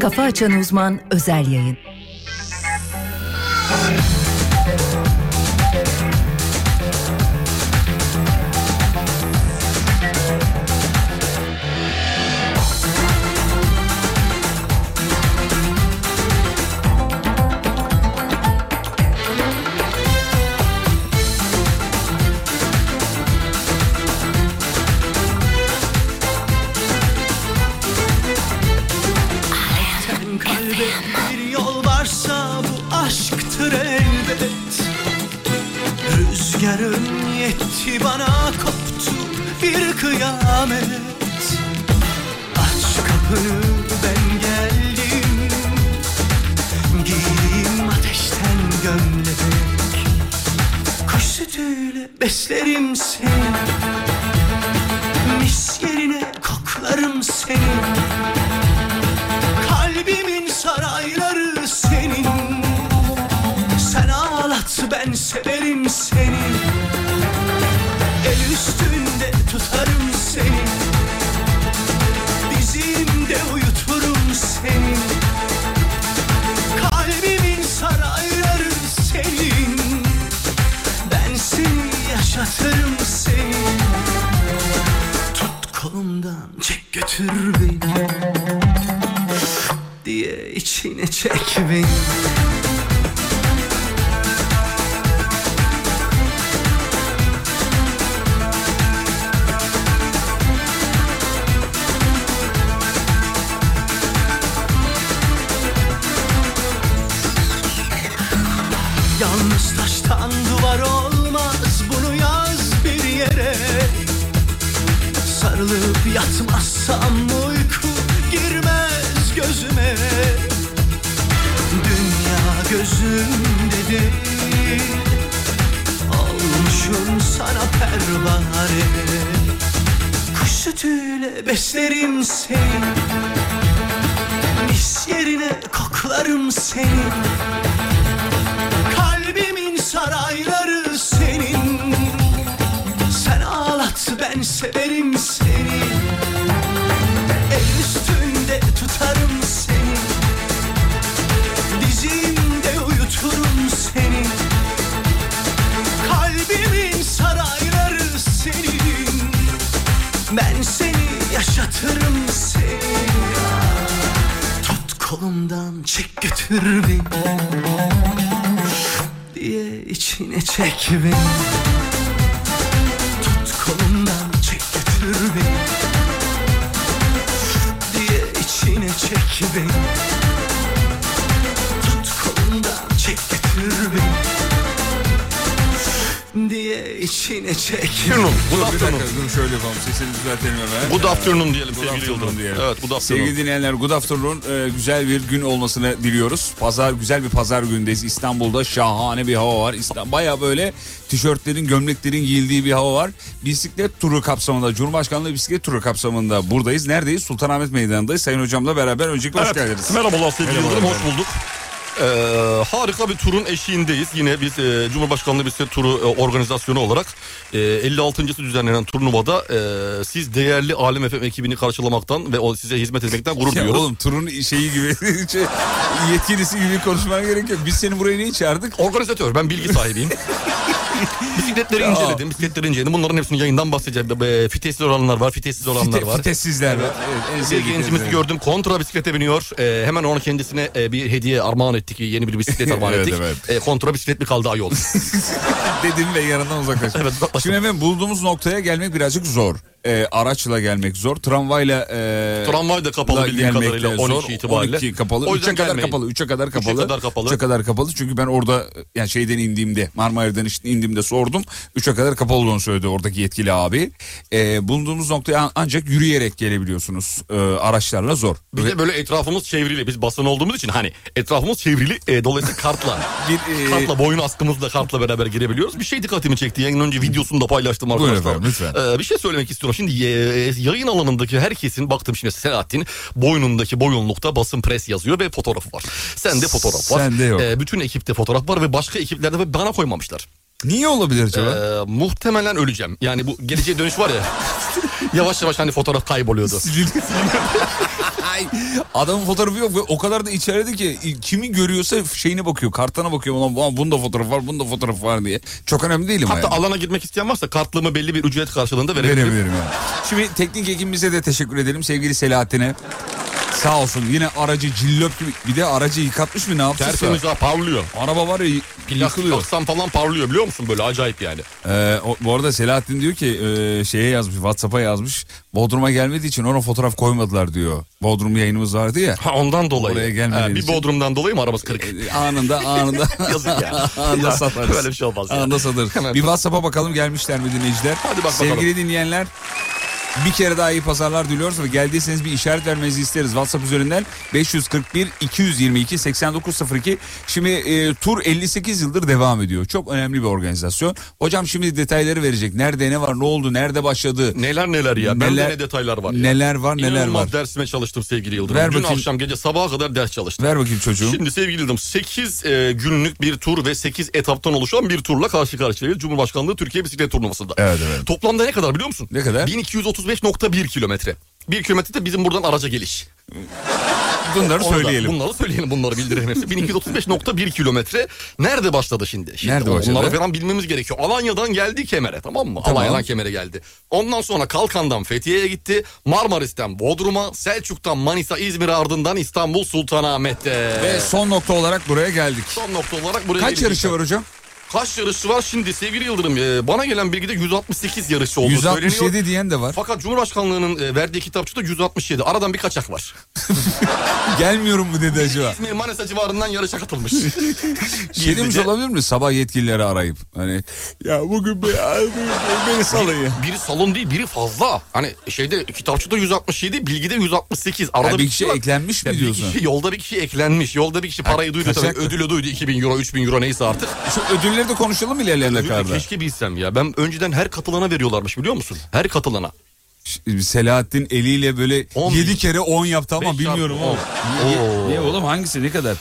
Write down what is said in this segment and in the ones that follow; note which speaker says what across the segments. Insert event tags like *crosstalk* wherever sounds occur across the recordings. Speaker 1: Kafa Açan Uzman özel yayın.
Speaker 2: Sen kalbe bir yol varsa bu aşktır elbet Rüzgarın yetti bana koptu bir kıyamet Aç kapını ben geldim Giyeyim ateşten gömlek Kuş sütüyle beslerim seni Mis yerine koklarım seni Kalbimin sarayları senin Sen ağlat ben severim seni El üstünde tutarım seni Dizimde uyuturum seni Kalbimin sarayları senin Ben seni yaşatırım seni Tut kolumdan çek götür beni diye içine çek beni Yalnız taştan duvar olmaz bunu yaz bir yere Sarılıp yatmazsam uyku girmez gözüme Dünya gözümde değil Olmuşum sana pervane Kuş sütüyle beslerim seni Mis yerine koklarım seni Kalbimin sarayları senin sen ağlat ben severim seni El üstünde tutarım seni Dizimde uyuturum seni Kalbimin sarayları senin Ben seni yaşatırım seni Tut kolumdan çek götür beni Diye içine çek beni Tut kolumdan çek götür beni Diye içine çek beni Tut kolumdan çek götür beni Diye içine çek beni
Speaker 3: Afternoon. Good
Speaker 4: Bir dakika
Speaker 3: afternoon.
Speaker 4: dur şöyle yapalım sesini düzeltelim hemen.
Speaker 3: Good afternoon diyelim
Speaker 4: Good
Speaker 3: sevgili
Speaker 4: afternoon
Speaker 3: Yıldırım.
Speaker 4: diyelim.
Speaker 3: Evet good afternoon.
Speaker 4: Sevgili dinleyenler good afternoon. Ee, güzel bir gün olmasını diliyoruz. Pazar güzel bir pazar günündeyiz. İstanbul'da şahane bir hava var. İstan- Baya böyle tişörtlerin, gömleklerin giyildiği bir hava var. Bisiklet turu kapsamında, Cumhurbaşkanlığı bisiklet turu kapsamında buradayız. Neredeyiz? Sultanahmet Meydanı'ndayız. Sayın hocamla beraber öncelikle hoş
Speaker 3: Evet,
Speaker 4: geldiniz.
Speaker 3: Merhabalar sevgili
Speaker 4: Merhaba
Speaker 3: Yıldırım hoş
Speaker 4: efendim.
Speaker 3: bulduk. Ee, harika bir turun eşiğindeyiz. Yine biz e, Cumhurbaşkanlığı bisiklet turu e, organizasyonu olarak e, 56. düzenlenen turnuvada e, siz değerli Alem FM ekibini karşılamaktan ve o size hizmet etmekten gurur
Speaker 4: Ya
Speaker 3: duyuyoruz.
Speaker 4: oğlum turun şeyi gibi, *laughs* şey, yetkilisi gibi konuşmana gerek yok. Biz seni buraya niye çağırdık?
Speaker 3: Organizatör ben bilgi
Speaker 4: *laughs*
Speaker 3: sahibiyim. bisikletleri
Speaker 4: Ya.
Speaker 3: inceledim, bisikletleri inceledim. Bunların hepsini yayından bahsedeceğim. E, fitesli olanlar var, fitesiz olanlar
Speaker 4: Fite-
Speaker 3: var.
Speaker 4: Fitessizler var. Evet, en
Speaker 3: Bir
Speaker 4: sevdiklerimiz.
Speaker 3: gencimizi gördüm kontra bisiklete biniyor. Ee, hemen ona kendisine e, bir hediye armağan ettik. Yeni bir
Speaker 4: *laughs*
Speaker 3: bisiklet armağan
Speaker 4: Evet,
Speaker 3: ettik.
Speaker 4: evet.
Speaker 3: Ee, kontra bisiklet mi kaldı
Speaker 4: *laughs*
Speaker 3: ayol?
Speaker 4: dedim ve yanından uzaklaştım.
Speaker 3: Evet, uzaklaştım.
Speaker 4: Şimdi efendim bulduğumuz noktaya gelmek birazcık zor. Ee, araçla gelmek zor. Tramvayla e,
Speaker 3: Tramvay da kapalı
Speaker 4: la
Speaker 3: bildiğim
Speaker 4: gelmek
Speaker 3: kadarıyla
Speaker 4: de
Speaker 3: 12
Speaker 4: zor.
Speaker 3: itibariyle.
Speaker 4: 12 kapalı.
Speaker 3: O
Speaker 4: 3'e
Speaker 3: yüzden
Speaker 4: kadar
Speaker 3: gelmeyin.
Speaker 4: kapalı. 3'e kadar kapalı.
Speaker 3: kadar kapalı.
Speaker 4: 3'e kadar kapalı. Çünkü ben orada yani şeyden indiğimde Marmaray'dan işte indiğimde sordum. 3'e kadar kapalı olduğunu söyledi oradaki yetkili abi. Ee, bulunduğumuz noktaya an- ancak yürüyerek gelebiliyorsunuz. Ee, araçlarla zor.
Speaker 3: Bir de böyle etrafımız çevrili. Biz basın olduğumuz için hani etrafımız çevrili. E, dolayısıyla kartla.
Speaker 4: *laughs* Bir, e,
Speaker 3: kartla boyun askımızla kartla beraber girebiliyoruz. Bir şey dikkatimi çekti. Yayın önce videosunu da paylaştım
Speaker 4: Buyurun
Speaker 3: arkadaşlar.
Speaker 4: efendim, lütfen.
Speaker 3: Ee, bir şey söylemek istiyorum. Şimdi e, yayın alanındaki herkesin baktım şimdi Selahattin boynundaki boyunlukta basın pres yazıyor ve fotoğrafı var. Sende fotoğraf var.
Speaker 4: Sende yok.
Speaker 3: Ee, bütün ekipte fotoğraf var ve başka ekiplerde ve bana koymamışlar.
Speaker 4: Niye olabilir acaba?
Speaker 3: Ee, muhtemelen öleceğim. Yani
Speaker 4: *laughs* *laughs*
Speaker 3: bu geleceğe dönüş var ya. yavaş yavaş hani fotoğraf kayboluyordu.
Speaker 4: Adamın fotoğrafı yok ve o kadar da içeride ki kimi görüyorsa şeyine bakıyor. Kartına bakıyor. Ulan "Ulan bunun da fotoğraf var, bunun da fotoğraf var diye. Çok önemli değil mi?
Speaker 3: Hatta alana girmek isteyen varsa kartlığımı belli bir ücret karşılığında verebilirim.
Speaker 4: Verebilirim yani. Şimdi teknik ekibimize de teşekkür edelim sevgili Selahattin'e. Sağ olsun yine aracı cillop gibi bir de aracı yıkatmış mı ne yaptıysa.
Speaker 3: Tertemiz ha parlıyor.
Speaker 4: Araba var ya yıkılıyor.
Speaker 3: Yaksan falan parlıyor biliyor musun böyle acayip yani.
Speaker 4: Ee, o- bu arada Selahattin diyor ki e, şeye yazmış Whatsapp'a yazmış. Bodrum'a gelmediği için ona fotoğraf koymadılar diyor. Bodrum yayınımız vardı ya.
Speaker 3: Ha ondan dolayı.
Speaker 4: Oraya gelmediğin
Speaker 3: Ha, bir
Speaker 4: için.
Speaker 3: bodrumdan dolayı mı arabası kırık?
Speaker 4: E, Anında anında
Speaker 3: *laughs* Yazık ya.
Speaker 4: anında
Speaker 3: Ya,
Speaker 4: satarız.
Speaker 3: Böyle bir şey olmaz ya.
Speaker 4: Anında satarız.
Speaker 3: Hemen-
Speaker 4: Bir Whatsapp'a bakalım gelmişler mi dinleyiciler?
Speaker 3: Hadi bak
Speaker 4: Sevgili
Speaker 3: bakalım.
Speaker 4: dinleyenler bir kere daha iyi pazarlar diliyoruz ve geldiyseniz bir işaret vermenizi isteriz. WhatsApp üzerinden 541 222 8902. Şimdi e, tur 58 yıldır devam ediyor. Çok önemli bir organizasyon. Hocam şimdi detayları verecek. Nerede ne var, ne oldu, nerede başladı?
Speaker 3: Neler neler ya. Bende
Speaker 4: Neler-
Speaker 3: ne detaylar var ya.
Speaker 4: Neler var, neler
Speaker 3: İnanılmaz
Speaker 4: var?
Speaker 3: dersime çalıştım sevgili Yıldırım.
Speaker 4: Ver
Speaker 3: Dün
Speaker 4: bakayım.
Speaker 3: akşam gece sabaha kadar ders çalıştım.
Speaker 4: Ver bakayım çocuğum.
Speaker 3: Şimdi sevgili Yıldırım 8 e, günlük bir tur ve 8 etaptan oluşan bir turla karşı karşıyayız. Cumhurbaşkanlığı Türkiye Bisiklet Turnuvası'nda.
Speaker 4: Evet, evet.
Speaker 3: Toplamda ne kadar biliyor musun?
Speaker 4: Ne kadar?
Speaker 3: 1235.1 kilometre. 1 kilometre de bizim buradan araca geliş.
Speaker 4: Bunları
Speaker 3: Onu da-
Speaker 4: söyleyelim.
Speaker 3: Bunları söyleyelim bunları bildirelim hepsi. 1235.1 kilometre nerede başladı şimdi? şimdi
Speaker 4: Nerede başladı?
Speaker 3: Onları falan bilmemiz gerekiyor. Alanya'dan geldi Kemer'e tamam mı?
Speaker 4: Tamam.
Speaker 3: Alanya'dan Kemer'e geldi. Ondan sonra Kalkan'dan Fethiye'ye gitti. Marmaris'ten Bodrum'a, Selçuk'tan Manisa, İzmir ardından İstanbul Sultanahmet'te.
Speaker 4: Ve son nokta olarak buraya geldik.
Speaker 3: son nokta olarak buraya
Speaker 4: Kaç
Speaker 3: geleceğiz.
Speaker 4: yarışı var hocam?
Speaker 3: Kaç yarışı var şimdi sevgili Yıldırım? Ee, bana gelen bilgide 168 yarışı olduğu söyleniyor.
Speaker 4: 167 diyen de var.
Speaker 3: Fakat Cumhurbaşkanlığı'nın e, verdiği kitapçıda 167. Aradan bir kaçak var.
Speaker 4: Gelmiyorum mu dedi acaba?
Speaker 3: İzmir Manisa civarından yarışa
Speaker 4: *laughs*
Speaker 3: katılmış.
Speaker 4: Şey demiş
Speaker 3: Gizlice.
Speaker 4: olabilir mi? Sabah yetkilileri arayıp hani ya bugün be- beni salın ya.
Speaker 3: Biri salon değil biri fazla. Hani şeyde kitapçıda 167 bilgide 168. Arada
Speaker 4: Yani bir kişi
Speaker 3: var.
Speaker 4: eklenmiş
Speaker 3: Ya
Speaker 4: mi
Speaker 3: bir
Speaker 4: diyorsun?
Speaker 3: kişi- yolda bir kişi eklenmiş. Yolda bir kişi parayı duydu tabii.
Speaker 4: kaçak. E,
Speaker 3: Ödülü duydu 2000 euro 3000 euro neyse artık.
Speaker 4: Şu ödülleri de konuşalım ilerleyen dakikada.
Speaker 3: Keşke bilsem ya. Ben önceden her katılana veriyorlarmış biliyor musun? Her katılana.
Speaker 4: Ş- Selahattin eliyle böyle
Speaker 3: On
Speaker 4: 7
Speaker 3: bin.
Speaker 4: kere 10 yaptı ama
Speaker 3: Beş
Speaker 4: bilmiyorum
Speaker 3: çarpı
Speaker 4: oğlum.
Speaker 3: on.
Speaker 4: Niye-
Speaker 3: Oo.
Speaker 4: Niye oğlum hangisi ne kadar?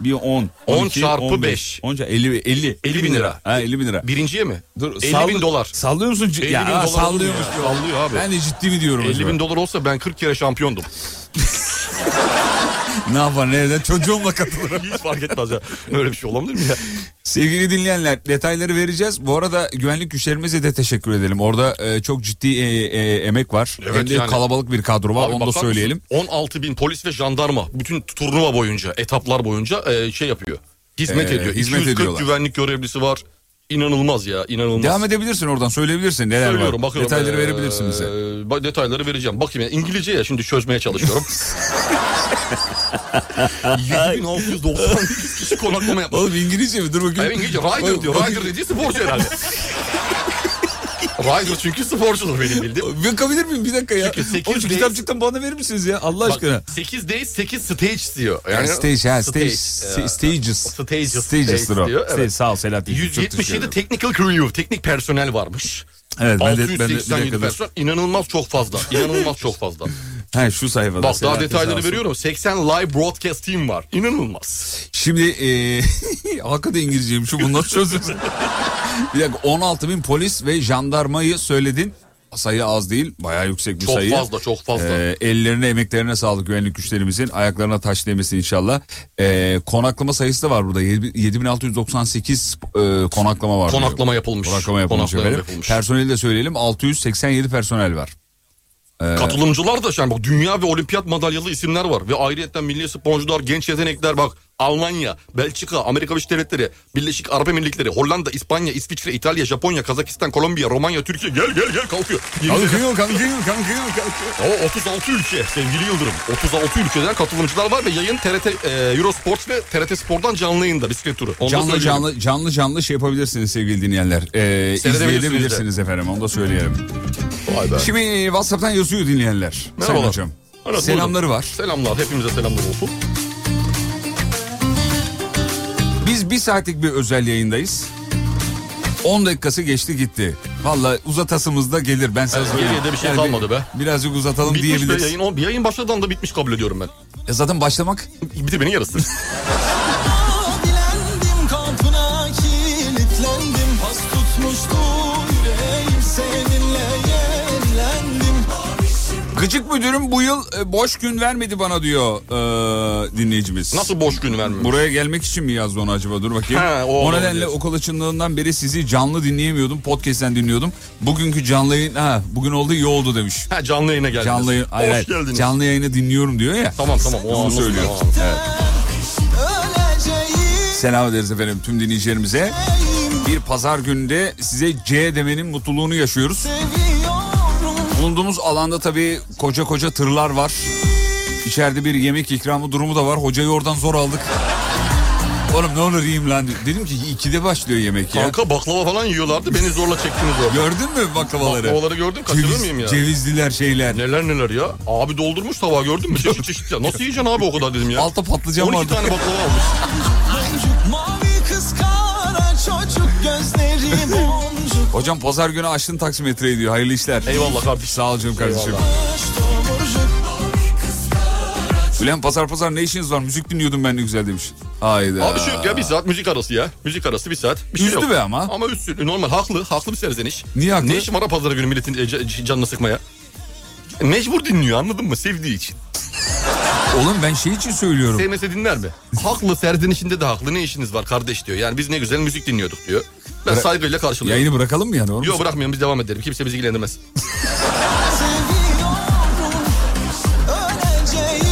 Speaker 4: Bir 10.
Speaker 3: On çarpı beş.
Speaker 4: 10 50 50
Speaker 3: 50 bin lira.
Speaker 4: Ha 50 bin lira.
Speaker 3: Birinciye mi?
Speaker 4: Dur,
Speaker 3: 50
Speaker 4: sall-
Speaker 3: bin dolar.
Speaker 4: Sallıyor musun?
Speaker 3: 50
Speaker 4: ya,
Speaker 3: bin dolar
Speaker 4: ha,
Speaker 3: olur mu
Speaker 4: sallıyormuş.
Speaker 3: ya?
Speaker 4: diyor.
Speaker 3: Sallıyor abi.
Speaker 4: Ben de ciddi mi diyorum
Speaker 3: 50
Speaker 4: acaba?
Speaker 3: bin dolar olsa ben 40 kere şampiyondum. *laughs*
Speaker 4: Ne yapar nereden? Çocuğumla katılırım.
Speaker 3: Hiç fark etmez ya. Öyle bir şey olabilir mi ya?
Speaker 4: Sevgili dinleyenler detayları vereceğiz. Bu arada güvenlik güçlerimize de teşekkür edelim. Orada e, çok ciddi e, e, emek var.
Speaker 3: Evet
Speaker 4: Hem de
Speaker 3: yani.
Speaker 4: kalabalık bir kadro var
Speaker 3: Abi
Speaker 4: onu da
Speaker 3: bakar
Speaker 4: söyleyelim.
Speaker 3: mısın? 16 bin polis ve jandarma bütün turnuva boyunca, etaplar boyunca e, şey yapıyor. Hizmet
Speaker 4: Ee,
Speaker 3: ediyor.
Speaker 4: hizmet
Speaker 3: 240
Speaker 4: ediyorlar.
Speaker 3: güvenlik görevlisi var. İnanılmaz ya, inanılmaz.
Speaker 4: Devam edebilirsin oradan söyleyebilirsin neler
Speaker 3: Söylüyorum,
Speaker 4: var.
Speaker 3: bakıyorum.
Speaker 4: Detayları
Speaker 3: Ee,
Speaker 4: verebilirsin bize.
Speaker 3: ba- detayları vereceğim. Bakayım ya, İngilizce ya şimdi çözmeye
Speaker 4: *laughs*
Speaker 3: çalışıyorum. 7698 kişi konaklama yapmış.
Speaker 4: Oğlum İngilizce mi? Dur bakayım.
Speaker 3: Hayır İngilizce rider diyor. Rider dediği sporcu herhalde.
Speaker 4: *laughs*
Speaker 3: rider çünkü sporcudur benim bildiğim.
Speaker 4: Bakabilir miyim bir dakika ya?
Speaker 3: Çünkü sekiz
Speaker 4: Oğlum şu
Speaker 3: değil-
Speaker 4: kitapçıktan bana verir misiniz ya Allah aşkına?
Speaker 3: 8 days 8 stage diyor.
Speaker 4: Yani E, stage ha stage.
Speaker 3: Stage,
Speaker 4: sta-
Speaker 3: e,
Speaker 4: Stages.
Speaker 3: Stages,
Speaker 4: Stages'tir
Speaker 3: stage
Speaker 4: o.
Speaker 3: diyor, evet.
Speaker 4: Stage, Sağ ol Selahattin. çok teşekkür
Speaker 3: 177
Speaker 4: ederim.
Speaker 3: technical crew, teknik personel varmış.
Speaker 4: Evet ben de, ben de bir
Speaker 3: 687
Speaker 4: dakika dur.
Speaker 3: personel inanılmaz çok fazla. İnanılmaz çok
Speaker 4: *laughs*
Speaker 3: fazla.
Speaker 4: Ha şu sayfada.
Speaker 3: Bak daha
Speaker 4: Selahattin sağ
Speaker 3: detayları
Speaker 4: olsun.
Speaker 3: veriyorum. 80 live broadcast team var. İnanılmaz.
Speaker 4: Şimdi e, *laughs* hakikaten İngilizceyim şu bunu nasıl çözeceğiz? bir dakika 16 bin polis ve jandarmayı söyledin. Sayı az değil bayağı yüksek bir
Speaker 3: Çok
Speaker 4: sayı.
Speaker 3: fazla, çok fazla.
Speaker 4: E, ellerine emeklerine sağlık güvenlik güçlerimizin ayaklarına taş değmesin inşallah. E, konaklama sayısı da var burada 7- 7698 e, konaklama var.
Speaker 3: Konaklama
Speaker 4: diyor.
Speaker 3: yapılmış.
Speaker 4: Konaklama yapılmış.
Speaker 3: Konaklama
Speaker 4: efendim.
Speaker 3: yapılmış.
Speaker 4: Personeli de söyleyelim 687 personel var.
Speaker 3: Katılımcılar da yani bak dünya ve olimpiyat madalyalı isimler var. Ve ayrıyetten milli sporcular, genç yetenekler bak. Almanya, Belçika, Amerika Birleşik Devletleri, Birleşik Arap Emirlikleri, Hollanda, İspanya, İsviçre, İtalya, Japonya, Kazakistan, Kolombiya, Romanya, Türkiye. Gel gel gel kalkıyor. Yemin ederim.
Speaker 4: Kalkıyor kalkıyor kalkıyor kalkıyor.
Speaker 3: O 36 ülke sevgili Yıldırım. 36 ülkeden katılımcılar var ve yayın TRT e, Eurosport ve TRT Spor'dan canlı yayında bisiklet turu. Onu da
Speaker 4: Canlı
Speaker 3: söyleyelim.
Speaker 4: canlı canlı canlı şey yapabilirsiniz sevgili dinleyenler. Ee,
Speaker 3: Seyredebilirsiniz
Speaker 4: izleyebilirsiniz efendim onu da söyleyelim.
Speaker 3: Vay be.
Speaker 4: Şimdi WhatsApp'tan yazıyor dinleyenler. Sayın
Speaker 3: Merhabalar.
Speaker 4: hocam.
Speaker 3: Evet,
Speaker 4: Selamları
Speaker 3: buyurun.
Speaker 4: var.
Speaker 3: Selamlar hepimize selamlar olsun.
Speaker 4: Biz bir saatlik bir özel yayındayız. 10 dakikası geçti gitti. Valla uzatasımız da gelir ben sana
Speaker 3: Evet,
Speaker 4: söyleyeyim.
Speaker 3: geriye de bir şey
Speaker 4: bir-
Speaker 3: kalmadı be.
Speaker 4: Birazcık uzatalım
Speaker 3: Bitmiş be
Speaker 4: diyebiliriz.
Speaker 3: yayın. O yayın başladan da bitmiş kabul ediyorum ben.
Speaker 4: E zaten başlamak
Speaker 3: Bitti benim
Speaker 4: *laughs*
Speaker 3: yarısı.
Speaker 2: Dilendim kapına kilitlendim Pas tutmuştu yüreğim seninle yenilendim
Speaker 4: Gıcık müdürüm bu yıl e, boş gün vermedi bana diyor e, dinleyicimiz.
Speaker 3: Nasıl boş gün vermiyor?
Speaker 4: Buraya gelmek için mi yazdı onu acaba dur bakayım.
Speaker 3: Ha, o
Speaker 4: o,
Speaker 3: olabilir.
Speaker 4: nedenle okul açıldığından beri sizi canlı dinleyemiyordum. Podcast'ten dinliyordum. Bugünkü canlı yayın ha bugün oldu iyi oldu demiş.
Speaker 3: Ha canlı yayına geldiniz.
Speaker 4: Canlı yayın,
Speaker 3: Hoş
Speaker 4: hayır, hayır.
Speaker 3: geldiniz.
Speaker 4: canlı yayını dinliyorum diyor ya.
Speaker 3: Tamam tamam. O
Speaker 4: Onu
Speaker 3: anlasın.
Speaker 4: söylüyor.
Speaker 3: Tamam.
Speaker 2: Öleceğim
Speaker 4: Selam ederiz efendim tüm dinleyicilerimize. Bir pazar günde size C demenin mutluluğunu yaşıyoruz.
Speaker 2: seviyorum
Speaker 4: Bulunduğumuz alanda tabii koca koca tırlar var. İçeride bir yemek ikramı durumu da var. Hocayı oradan zor aldık. Oğlum ne olur yiyeyim lan. Dedim ki ikide başlıyor yemek ya.
Speaker 3: Kanka baklava falan yiyorlardı. Beni zorla çektiniz orada.
Speaker 4: Gördün mü baklavaları?
Speaker 3: Baklavaları gördüm. Kaçırır
Speaker 4: Ceviz-
Speaker 3: mıyım ya?
Speaker 4: Cevizliler şeyler.
Speaker 3: Neler neler ya. Abi doldurmuş tabağı gördün mü? Çeşit çeşit ya. Nasıl yiyeceksin abi o kadar dedim ya.
Speaker 4: Altta patlıcan
Speaker 3: 12
Speaker 4: vardı.
Speaker 3: tane baklava almış.
Speaker 2: Boncuk mavi kız kara çocuk gözleri boncuk
Speaker 4: Hocam pazar günü açtın taksimetreyi diyor. Hayırlı işler.
Speaker 3: Eyvallah kardeşim.
Speaker 4: Sağ ol canım kardeşim.
Speaker 2: tomurcuk
Speaker 4: Ulan pazar pazar ne işiniz var? Müzik dinliyordum ben ne güzel demiş. Hayda.
Speaker 3: Abi şu ya bir saat müzik arası ya. Müzik arası bir saat. Bir şey
Speaker 4: Üzdü be ama.
Speaker 3: Ama üstü. Normal haklı. Haklı bir serzeniş.
Speaker 4: Niye haklı?
Speaker 3: Ne işin var ha pazar günü milletin e, ca- c- canını sıkmaya? Mecbur dinliyor anladın mı? Sevdiği için.
Speaker 4: Oğlum ben şey için söylüyorum.
Speaker 3: Sevmese dinler
Speaker 4: *laughs*
Speaker 3: mi? Haklı serzenişinde de haklı. Ne işiniz var kardeş diyor. Yani biz ne güzel müzik dinliyorduk diyor. Ben
Speaker 4: Bırak-
Speaker 3: saygıyla karşılıyorum.
Speaker 4: Yayını bırakalım mı yani? oğlum?
Speaker 3: Yok bırakmıyorum biz devam edelim. Kimse bizi ilgilendirmez.
Speaker 2: seviyorum öleceğim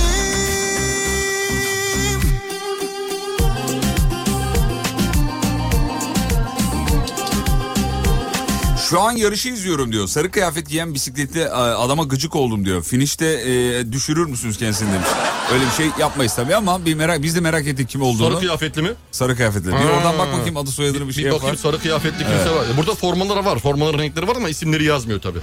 Speaker 4: Şu an yarışı izliyorum diyor. Sarı kıyafet giyen bisikletli e, adama gıcık oldum diyor. Finişte e, düşürür müsünüz kendisini demiş. Öyle bir şey yapmayız tabii ama bir merak biz de merak ettik kim olduğunu.
Speaker 3: Sarı
Speaker 4: Sarı,
Speaker 3: kıyafetli mi?
Speaker 4: kıyafetli. Bir
Speaker 3: Ha.
Speaker 4: oradan bak bakayım adı soyadını bir, şey
Speaker 3: bir bakayım
Speaker 4: yapar.
Speaker 3: sarı kıyafetli kimse var. Burada formalar var. Formaların renkleri var ama isimleri yazmıyor tabii.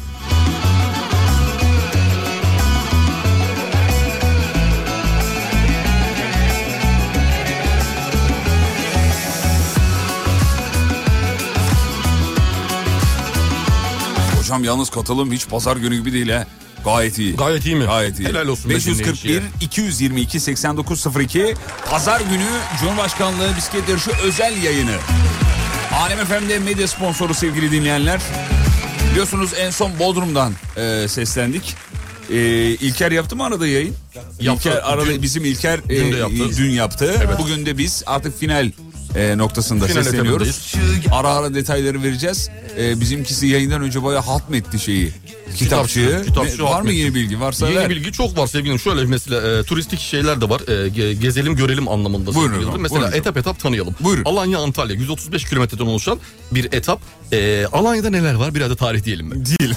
Speaker 4: Hocam yalnız katılım hiç pazar günü gibi değil ha. Gayet iyi.
Speaker 3: Gayet iyi mi?
Speaker 4: Gayet iyi.
Speaker 3: Helal olsun. be
Speaker 4: 541
Speaker 3: dinleyiciye.
Speaker 4: 222 8902 Pazar günü Cumhurbaşkanlığı bisiklet yarışı özel yayını. Alem FM'de medya sponsoru sevgili dinleyenler. Biliyorsunuz en son Bodrum'dan e, seslendik. E, İlker yaptı mı arada yayın?
Speaker 3: Yaptı.
Speaker 4: İlker arada
Speaker 3: Dün-
Speaker 4: bizim İlker e,
Speaker 3: dün de yaptı.
Speaker 4: dün yaptı. Bugün de biz artık final e, noktasında
Speaker 3: Final
Speaker 4: sesleniyoruz. Ara ara detayları vereceğiz. E, bizimkisi yayından önce bayağı hatmetti şeyi. Kitapçığı.
Speaker 3: kitapçı
Speaker 4: Ne- var mı
Speaker 3: hatmetti.
Speaker 4: yeni bilgi? Varsa
Speaker 3: Yeni
Speaker 4: ver.
Speaker 3: bilgi çok var sevgilim. Şöyle mesela e, turistik şeyler de var. E, ge- gezelim görelim anlamında.
Speaker 4: Buyurun
Speaker 3: sevgili
Speaker 4: efendim,
Speaker 3: Mesela
Speaker 4: buyurun
Speaker 3: etap etap tanıyalım.
Speaker 4: Buyurun.
Speaker 3: Alanya Antalya 135 kilometreden oluşan bir etap. E, Alanya'da neler var? Biraz da tarih diyelim mi?
Speaker 4: Değil.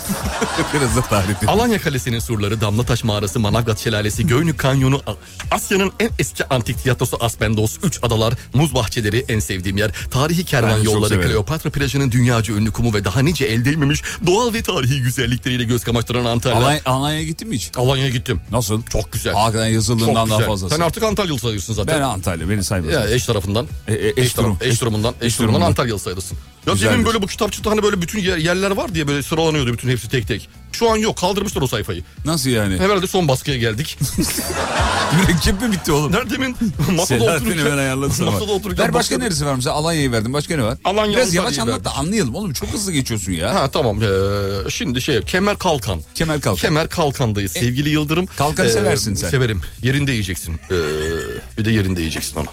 Speaker 4: Biraz da tarif et.
Speaker 3: Alanya Kalesi'nin surları, Damlataş Mağarası, Manavgat Şelalesi, Göynük Kanyonu, A- Asya'nın en eski antik tiyatrosu Aspendos, Üç Adalar, Muz Bahçeleri en sevdiğim yer, tarihi kervan
Speaker 4: Ben de çok
Speaker 3: yolları,
Speaker 4: severim.
Speaker 3: Kleopatra plajının dünyaca ünlü kumu ve daha nice elde edilmemiş doğal ve tarihi güzellikleriyle göz kamaştıran Antalya.
Speaker 4: Alanya, Alanya'ya gittin mi hiç?
Speaker 3: Alanya'ya gittim.
Speaker 4: Nasıl?
Speaker 3: Çok güzel.
Speaker 4: Hakikaten
Speaker 3: Çok
Speaker 4: yazıldığından daha
Speaker 3: güzel.
Speaker 4: fazlası.
Speaker 3: Sen artık Antalyalı sayıyorsun zaten.
Speaker 4: Ben Antalya, beni sayma.
Speaker 3: Ya eş tarafından.
Speaker 4: E, e, eş
Speaker 3: taraf-
Speaker 4: durum.
Speaker 3: Eş durumundan. Eş
Speaker 4: Eş
Speaker 3: durumundan
Speaker 4: durumundan.
Speaker 3: Antalyalı sayılırsın. Ya
Speaker 4: Güzeldir.
Speaker 3: demin böyle bu kitapçıkta hani böyle bütün yer- yerler var diye böyle sıralanıyordu bütün hepsi tek tek. Şu an yok kaldırmışlar o sayfayı.
Speaker 4: Nasıl yani? *laughs*
Speaker 3: Herhalde son baskıya geldik.
Speaker 4: Mürekkep mi bitti oğlum?
Speaker 3: Nerede demin masada
Speaker 4: Selahattin'i
Speaker 3: otururken.
Speaker 4: ben ayarladım sana.
Speaker 3: Masada otururken.
Speaker 4: Ver başka neresi var mesela? Alanya'yı verdim. Başka ne var?
Speaker 3: Alanya,
Speaker 4: Biraz yavaş
Speaker 3: Antalya'yı
Speaker 4: anlat da anlayalım oğlum. Çok hızlı geçiyorsun ya.
Speaker 3: Ha tamam. Ee, şimdi şey Kemer Kalkan.
Speaker 4: Kemal Kalkan.
Speaker 3: Kemer Kalkan'dayız
Speaker 4: E-
Speaker 3: sevgili Yıldırım. ee,
Speaker 4: Kalkan'ı seversin sen.
Speaker 3: Severim. Yerinde yiyeceksin. Ee, bir de yerinde yiyeceksin onu.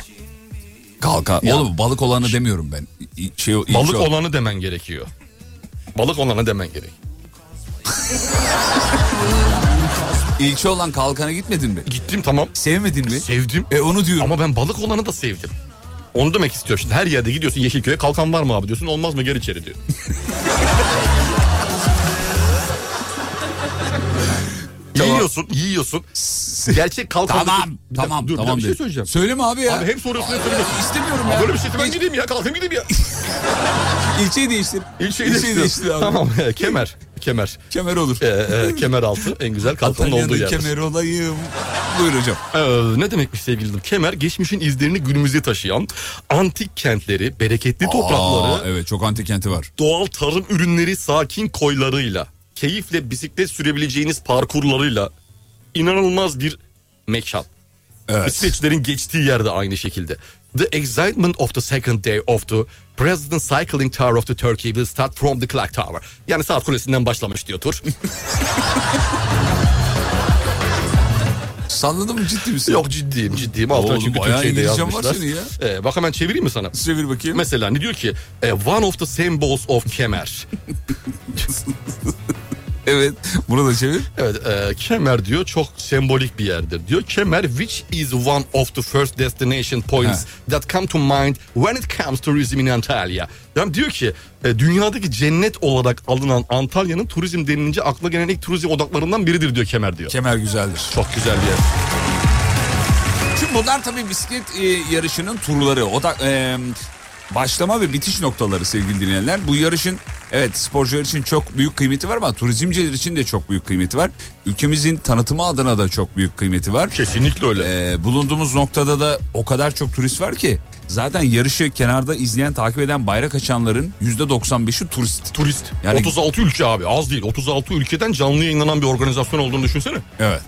Speaker 4: Kalkan. Oğlum balık olanı demiyorum ben. İ- Şey, ilçe
Speaker 3: Balık olanı demen gerekiyor. Balık olanı demen gerek.
Speaker 4: İlçe olan kalkana gitmedin mi?
Speaker 3: Gittim tamam.
Speaker 4: Sevmedin mi?
Speaker 3: Sevdim.
Speaker 4: E onu diyorum.
Speaker 3: Ama ben balık olanı da sevdim. Onu demek istiyorum. Şimdi her yerde gidiyorsun Yeşilköy'e kalkan var mı abi diyorsun. Olmaz mı gel içeri *laughs* diyor.
Speaker 4: Tamam.
Speaker 3: Yiyorsun, yiyorsun. Gerçek kalkan.
Speaker 4: Tamam,
Speaker 3: Bir dakika,
Speaker 4: tamam,
Speaker 3: dur,
Speaker 4: tamam.
Speaker 3: Bir şey
Speaker 4: dedi.
Speaker 3: söyleyeceğim.
Speaker 4: Söyleme abi ya.
Speaker 3: Abi hem soruyorsun hem söylüyorsun.
Speaker 4: İstemiyorum ya.
Speaker 3: Böyle bir şey ben gideyim ya kalkayım gideyim ya.
Speaker 4: İlçeyi değiştir.
Speaker 3: İlçeyi değiştir.
Speaker 4: değiştir abi.
Speaker 3: Tamam kemer. Kemer.
Speaker 4: Kemer olur.
Speaker 3: Ee, e, kemer altı en güzel kalkanın olduğu
Speaker 4: Antalya'nın
Speaker 3: yer.
Speaker 4: kemer olayım. Buyur hocam.
Speaker 3: Ee, ne demekmiş sevgili Kemer geçmişin izlerini günümüze taşıyan antik kentleri, bereketli toprakları,
Speaker 4: Aa, evet çok antik kenti var.
Speaker 3: doğal tarım ürünleri sakin koylarıyla, keyifle bisiklet sürebileceğiniz parkurlarıyla inanılmaz bir mekan.
Speaker 4: Evet.
Speaker 3: İsveçlerin geçtiği yerde aynı şekilde. The excitement of the second day of the President Cycling Tour of the Turkey will start from the clock tower. Yani saat kulesinden başlamış diyor tur.
Speaker 4: Salladın mı ciddi
Speaker 3: *laughs*
Speaker 4: misin?
Speaker 3: Yok ciddiyim ciddiyim. Altına
Speaker 4: Oğlum,
Speaker 3: çünkü
Speaker 4: bayağı
Speaker 3: Türkçe'yi de
Speaker 4: İngilizcen var
Speaker 3: yazmışlar.
Speaker 4: senin
Speaker 3: Ee, bak hemen çevireyim mi sana?
Speaker 4: Çevir bakayım.
Speaker 3: Mesela ne diyor ki? e, One of the symbols of kemer.
Speaker 4: evet. Bunu da çevir.
Speaker 3: Evet e, kemer diyor çok sembolik bir yerdir diyor. Kemer which is one of the first destination points
Speaker 4: Ha.
Speaker 3: that come to mind when it comes to tourism in Antalya. Yani diyor ki e, dünyadaki cennet olarak alınan Antalya'nın turizm denilince akla gelen ilk turizm odaklarından biridir diyor kemer diyor.
Speaker 4: Kemer güzeldir.
Speaker 3: çok güzel bir yer.
Speaker 4: Şimdi bunlar tabii bisiklet e, yarışının turları. O da e, başlama ve bitiş noktaları sevgili dinleyenler. Bu yarışın evet sporcular için çok büyük kıymeti var ama turizmciler için de çok büyük kıymeti var. Ülkemizin tanıtımı adına da çok büyük kıymeti var.
Speaker 3: Kesinlikle öyle.
Speaker 4: E, bulunduğumuz noktada da o kadar çok turist var ki zaten yarışı kenarda izleyen takip eden bayrak açanların %95'i turist.
Speaker 3: Turist.
Speaker 4: Yani-
Speaker 3: 36 ülke abi az değil. 36 ülkeden canlı yayınlanan bir organizasyon olduğunu düşünsene.
Speaker 4: Evet.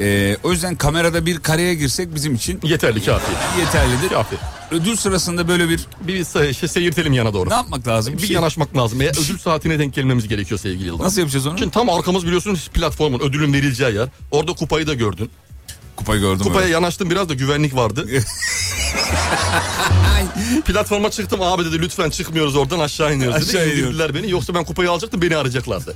Speaker 4: E, o yüzden kamerada bir kareye girsek bizim için
Speaker 3: Yeterli kafi.
Speaker 4: yeterlidir.
Speaker 3: Kafi.
Speaker 4: Ödül sırasında böyle bir
Speaker 3: Bir se- şey, seyirtelim yana doğru.
Speaker 4: ne yapmak lazım?
Speaker 3: Bir
Speaker 4: şey-
Speaker 3: yanaşmak lazım. Veya ödül saatine denk gelmemiz gerekiyor sevgili Yıldız.
Speaker 4: Nasıl yapacağız onu?
Speaker 3: Şimdi tam arkamız biliyorsunuz platformun ödülün verileceği yer. Orada kupayı da gördün.
Speaker 4: Kupa gördüm.
Speaker 3: Kupaya
Speaker 4: evet.
Speaker 3: yanaştım biraz da güvenlik vardı.
Speaker 4: *laughs*
Speaker 3: Platforma çıktım abi dedi lütfen çıkmıyoruz oradan aşağı iniyoruz dedi.
Speaker 4: Aşağı iniyoruz.
Speaker 3: İndirdiler beni yoksa ben kupayı alacaktım beni arayacaklardı.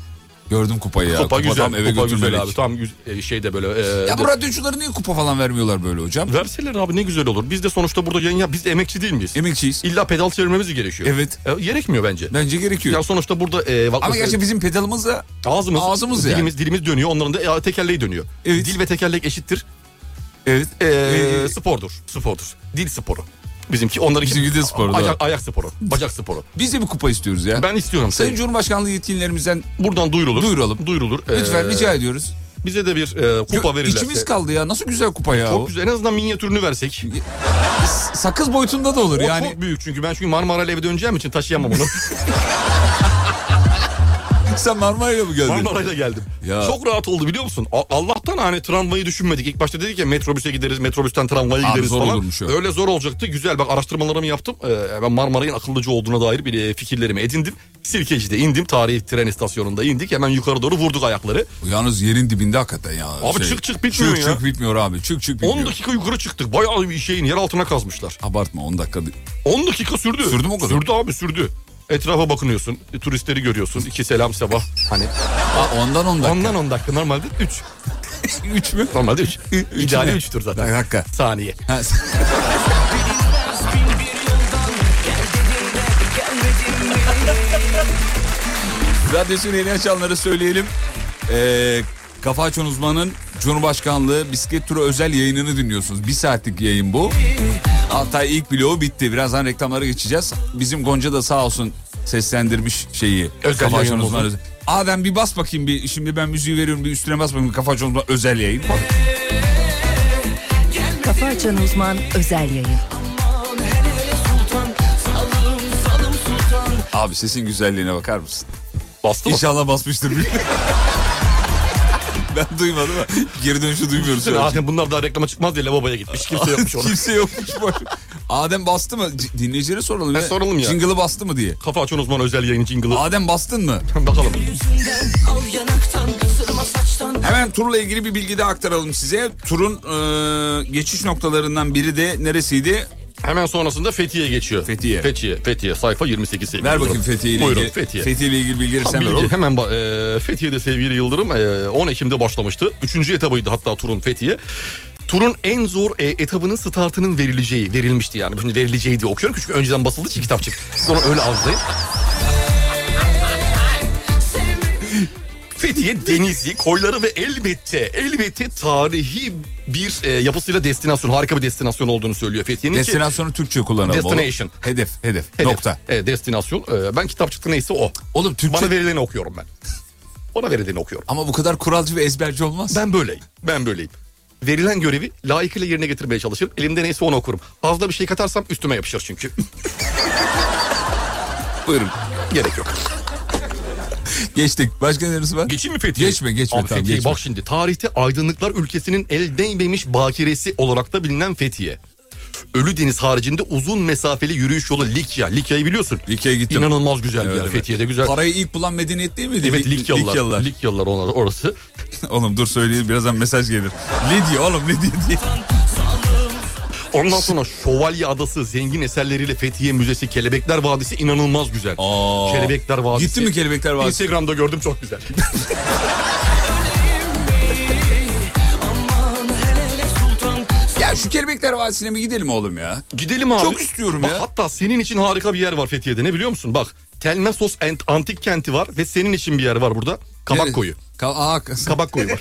Speaker 4: Gördüm kupayı ya.
Speaker 3: kupa, güzel.
Speaker 4: tam eve
Speaker 3: Kupa güzel
Speaker 4: götürmelik.
Speaker 3: abi. Tam güz- e, şeyde böyle. e,
Speaker 4: Ya
Speaker 3: de-
Speaker 4: bu radyoculara niye kupa falan vermiyorlar böyle hocam?
Speaker 3: Verseler abi ne güzel olur. Biz de sonuçta burada yayın yap. Biz de emekçi değil miyiz?
Speaker 4: Emekçiyiz.
Speaker 3: İlla pedal çevirmemiz gerekiyor.
Speaker 4: Evet.
Speaker 3: E, gerekmiyor bence.
Speaker 4: Bence gerekiyor.
Speaker 3: Ya sonuçta burada e, bak
Speaker 4: Ama
Speaker 3: mesela-
Speaker 4: gerçi bizim pedalımız da
Speaker 3: Ağzımız,
Speaker 4: Ağzımız yani.
Speaker 3: dilimiz, dilimiz dönüyor. Onların da e, tekerleği dönüyor.
Speaker 4: Evet.
Speaker 3: Dil ve tekerlek eşittir.
Speaker 4: evet.
Speaker 3: E,
Speaker 4: Ee,
Speaker 3: spordur. Spordur. Dil sporu. Bizimki onlarınki
Speaker 4: Bizimki de sporu,
Speaker 3: Ayak, ayak sporu. Bacak sporu.
Speaker 4: biz de bir kupa istiyoruz ya.
Speaker 3: Ben istiyorum.
Speaker 4: Sayın
Speaker 3: seni.
Speaker 4: Cumhurbaşkanlığı yetkililerimizden
Speaker 3: Buradan duyurulur.
Speaker 4: Duyuralım.
Speaker 3: Duyurulur. E,
Speaker 4: lütfen rica ediyoruz.
Speaker 3: Bize de bir e, kupa
Speaker 4: Gö-
Speaker 3: verirlerse.
Speaker 4: İçimiz kaldı ya. Nasıl güzel kupa ya o.
Speaker 3: Çok güzel. En azından minyatürünü versek.
Speaker 4: Sakız boyutunda da olur
Speaker 3: O
Speaker 4: yani.
Speaker 3: çok büyük çünkü ben çünkü Marmara'yla eve döneceğim için taşıyamam
Speaker 4: *laughs*
Speaker 3: onu.
Speaker 4: Sen Marmara'yla mı geldin?
Speaker 3: Marmara'yla geldim.
Speaker 4: Ya.
Speaker 3: Çok rahat oldu biliyor musun? A- Allah'tan hani tramvayı düşünmedik. İlk başta dedik ya metrobüse gideriz, metrobüsten tramvaya
Speaker 4: Abi
Speaker 3: gideriz
Speaker 4: zor
Speaker 3: falan.
Speaker 4: olurmuş o.
Speaker 3: Öyle zor olacaktı. Güzel bak araştırmalarımı yaptım. Ee, ben Marmara'nın akıllıcı olduğuna dair bir e, fikirlerimi edindim. Sirkeci'de indim. Tarihi tren istasyonunda indik. Hemen yukarı doğru vurduk ayakları.
Speaker 4: Yalnız yerin dibinde hakikaten ya. Şey,
Speaker 3: Abi çık çık bitmiyor
Speaker 4: çık
Speaker 3: ya.
Speaker 4: Çık bitmiyor abi. Çık çık bitmiyor.
Speaker 3: 10 dakika yukarı çıktık. Bayağı bir şeyin yer altına kazmışlar.
Speaker 4: Abartma 10 dakika.
Speaker 3: 10 dakika sürdü.
Speaker 4: Sürdü mü o kadar?
Speaker 3: Sürdü abi sürdü. Etrafa bakınıyorsun. e, Turistleri görüyorsun. İki selam sabah. Hani
Speaker 4: Aa, ondan 10 dakika.
Speaker 3: ondan 10 dakika. Normalde 3.
Speaker 4: *laughs* 3 mü?
Speaker 3: Normalde 3.
Speaker 4: Üç
Speaker 3: İdeali
Speaker 4: ne?
Speaker 3: 3'tür zaten.
Speaker 4: Bir dakika.
Speaker 3: Saniye.
Speaker 4: Ha, Radyosunu yeni açanlara söyleyelim. Ee, Kafa Açan Uzman'ın Cumhurbaşkanlığı bisiklet turu özel yayınını dinliyorsunuz. Bir saatlik yayın bu. Hatta ilk bloğu bitti. Birazdan reklamlara geçeceğiz. Bizim Gonca da sağ olsun seslendirmiş şeyi.
Speaker 3: Özel
Speaker 4: Kafa Açan
Speaker 3: yayın
Speaker 4: Uzman.
Speaker 3: oldu.
Speaker 4: Adem bir bas bakayım bir. Şimdi ben müziği veriyorum bir üstüne bas bakayım. Kafa Açan Uzman özel yayın. Bak.
Speaker 1: Kafa Açan Uzman özel yayın.
Speaker 4: Abi sesin güzelliğine bakar mısın?
Speaker 3: Bastı mı?
Speaker 4: İnşallah basmıştır. *laughs* ben duymadım ama geri dönüşü duymuyoruz. şu an.
Speaker 3: Zaten bunlar daha reklama çıkmaz diye lavaboya gitmiş. Kimse yokmuş ona.
Speaker 4: *laughs* Kimse yokmuş. bu arada. Adem bastı mı? C- Dinleyicilere soralım.
Speaker 3: E, soralım ya.
Speaker 4: Jingle'ı bastı mı diye.
Speaker 3: Kafa açan uzman özel yayın jingle'ı.
Speaker 4: Adem bastın mı?
Speaker 3: Bakalım.
Speaker 4: Hemen turla ilgili bir bilgi de aktaralım size. Turun e, geçiş noktalarından biri de neresiydi?
Speaker 3: Hemen sonrasında Fethiye geçiyor.
Speaker 4: Fethiye.
Speaker 3: Fethiye. Fethiye. Sayfa 28. sevgili
Speaker 4: Ver bakayım
Speaker 3: Yıldırım.
Speaker 4: Fethiye ile
Speaker 3: Buyurun
Speaker 4: ilgili.
Speaker 3: Fethiye.
Speaker 4: Fethiye ile ilgili bilgileri sen ver
Speaker 3: Bilgi
Speaker 4: oğlum.
Speaker 3: hemen ba- e, Fethiye'de sevgili Yıldırım e, 10 Ekim'de başlamıştı. Üçüncü etabıydı hatta turun Fethiye. Turun en zor e, etabının startının verileceği, verilmişti yani. Şimdi verileceği diye okuyorum çünkü önceden basıldı için kitapçık. Sonra öyle azdayım. Fethiye denizi, koyları ve elbette, elbette tarihi bir e, yapısıyla destinasyon, harika bir destinasyon olduğunu söylüyor Fethiye'nin. ki-
Speaker 4: Destinasyonu Türkçe kullanalım oğlum.
Speaker 3: Destination.
Speaker 4: Hedef, hedef,
Speaker 3: Hedef.
Speaker 4: nokta.
Speaker 3: E, destinasyon. E, ben kitapçıkta neyse o.
Speaker 4: Oğlum Türkçe
Speaker 3: Bana verileni okuyorum ben. Bana verileni okuyorum.
Speaker 4: ama bu kadar kuralcı ve ezberci olmaz.
Speaker 3: Ben böyleyim. Ben böyleyim. Verilen görevi layıkıyla yerine getirmeye çalışırım. Elimde neyse onu okurum. Fazla bir şey katarsam üstüme yapışır çünkü. *laughs*
Speaker 4: Buyurun.
Speaker 3: Gerek yok.
Speaker 4: Geçtik. Başka neresi var?
Speaker 3: Geçeyim mi Fethiye?
Speaker 4: Geçme, geçme,
Speaker 3: Abi
Speaker 4: tamam,
Speaker 3: Fethiye
Speaker 4: geçme.
Speaker 3: bak şimdi tarihte aydınlıklar ülkesinin el değmemiş bakiresi olarak da bilinen Fethiye. Ölüdeniz haricinde uzun mesafeli yürüyüş yolu Likya. Likya'yı biliyorsun.
Speaker 4: Likya gittim.
Speaker 3: İnanılmaz güzel bir
Speaker 4: Evet,
Speaker 3: yer.
Speaker 4: evet.
Speaker 3: Fethiye'de güzel.
Speaker 4: Parayı ilk bulan medeniyet değil miydi?
Speaker 3: Evet
Speaker 4: Li-
Speaker 3: Likyalılar. Likyalılar.
Speaker 4: Likyalılar.
Speaker 3: onlar orası.
Speaker 4: Oğlum dur söyleyeyim birazdan mesaj gelir. Lidya oğlum Lidya diye.
Speaker 3: Ondan sonra Şövalye Adası zengin eserleriyle Fethiye Müzesi, Kelebekler Vadisi inanılmaz güzel.
Speaker 4: Aa.
Speaker 3: Kelebekler Vadisi.
Speaker 4: Gitti mi Kelebekler Vadisi?
Speaker 3: Instagram'da gördüm çok güzel.
Speaker 4: Ya şu Kelebekler Vadisi'ne mi gidelim oğlum ya?
Speaker 3: *laughs* Gidelim abi.
Speaker 4: Çok istiyorum
Speaker 3: Bak,
Speaker 4: ya.
Speaker 3: Hatta senin için harika bir yer var Fethiye'de ne biliyor musun? Bak Tel Nasos Ant- Antik Kenti var ve senin için bir yer var burada. Kabak
Speaker 4: Neresi?
Speaker 3: Koyu.
Speaker 4: Ka- Aa, ka-
Speaker 3: Kabak Koyu
Speaker 4: *laughs*
Speaker 3: var.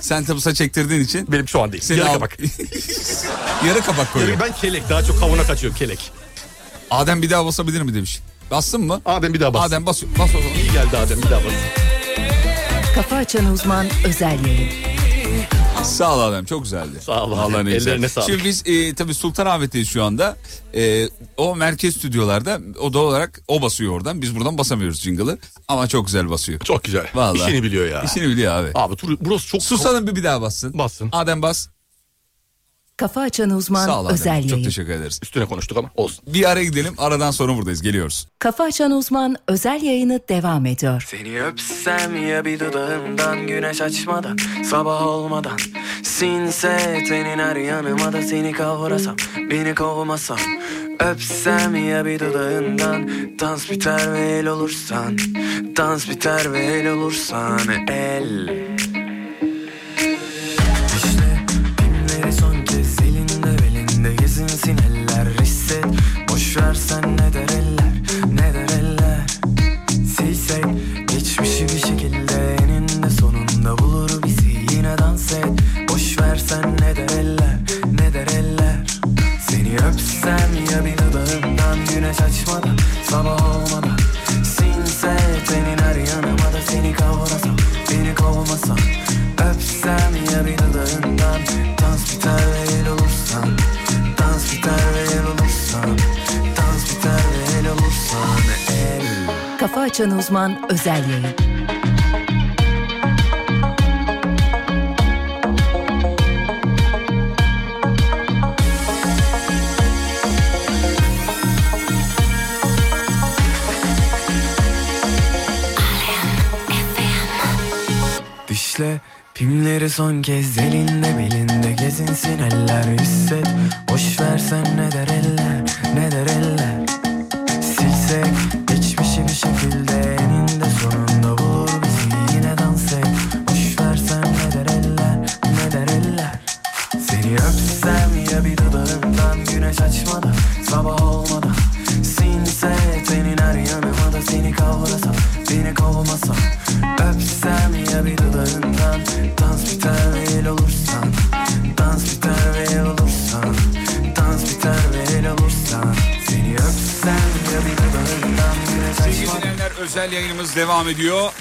Speaker 4: sen tabusa çektirdiğin için
Speaker 3: Benim şu an değil.
Speaker 4: seni
Speaker 3: Yarı
Speaker 4: al-
Speaker 3: kabak.
Speaker 4: *laughs* Yarı kabak koyuyor.
Speaker 3: Yarı- ben kelek daha çok kavuna kaçıyorum kelek.
Speaker 4: Adem bir daha basabilir mi demiş. Bastın mı?
Speaker 3: Adem bir daha bas.
Speaker 4: Adem bas, bas o zaman.
Speaker 3: İyi geldi Adem bir daha bas.
Speaker 1: Kafa Açan Uzman özel yayın.
Speaker 4: Sağ ol Adem çok güzeldi.
Speaker 3: Sağ ol Adem,
Speaker 4: Vallahi ne güzel.
Speaker 3: ellerine sağlık.
Speaker 4: Şimdi biz e, tabii Sultanahmet'teyiz şu anda. E, o merkez stüdyolarda o doğal olarak o basıyor oradan. Biz buradan basamıyoruz jingle'ı. Ama çok güzel basıyor.
Speaker 3: Çok güzel.
Speaker 4: Vallahi.
Speaker 3: İşini biliyor ya.
Speaker 4: İşini biliyor abi.
Speaker 3: Abi tur- burası çok...
Speaker 4: Susalım bir bir daha bassın.
Speaker 3: Bassın.
Speaker 4: Adem bas.
Speaker 1: Kafa Açan
Speaker 4: Sağ ol
Speaker 1: Uzman
Speaker 4: Adem.
Speaker 1: özel
Speaker 4: Çok
Speaker 1: yayın.
Speaker 4: teşekkür ederiz.
Speaker 3: Üstüne konuştuk ama olsun.
Speaker 4: Bir ara gidelim. Aradan sonra buradayız. Geliyoruz.
Speaker 1: Kafa Açan Uzman özel yayını devam ediyor.
Speaker 2: Seni öpsem ya bir dudağından güneş açmadan Sabah olmadan sinse tenin her yanıma da seni kavrasam Beni kovmasam Öpsem ya bir dudağından Dans biter ve el olursan Dans biter ve el olursan El İşte Kimleri son kez elinde belinde gezinsin eller Hisset boş versen ne der eller ne der eller Silsek geçmişi bir şekilde eninde sonunda bulur bizi yine dans et Boş versen ne der eller ne der eller Seni öpsem ya bir dudağından güneş açmadan sabah olmadan Sinse tenin her yanıma da seni kavrasam beni kovmasam Öpsem ya bir dudağından dans biter ve el olursan Dans biter ve el olursan Dans biter ve el olursan El
Speaker 1: Kafa Açan Uzman özel yayın.
Speaker 2: Dişle pimleri son kez elinde belinde gezinsin eller hisset Boş versen ne der eller ne der eller Silsek geçmişi bir şekilde eninde sonunda bulur bizi yine dans et Boş versen ne der eller ne der eller Seni öpsem ya bir dudağından güneş açmadan sabah olmadan Sinse tenin her yanıma da seni kavrasam beni kovmasam Öpsem ya bir dudağından dans biter ve el olursan Dans biter ve el olursan Dans biter ve el olursan Seni öpsem ya bir dudağından güneş
Speaker 4: Sevgili
Speaker 2: açmadan
Speaker 4: dinleyenler özel yayınımız devam ediyor.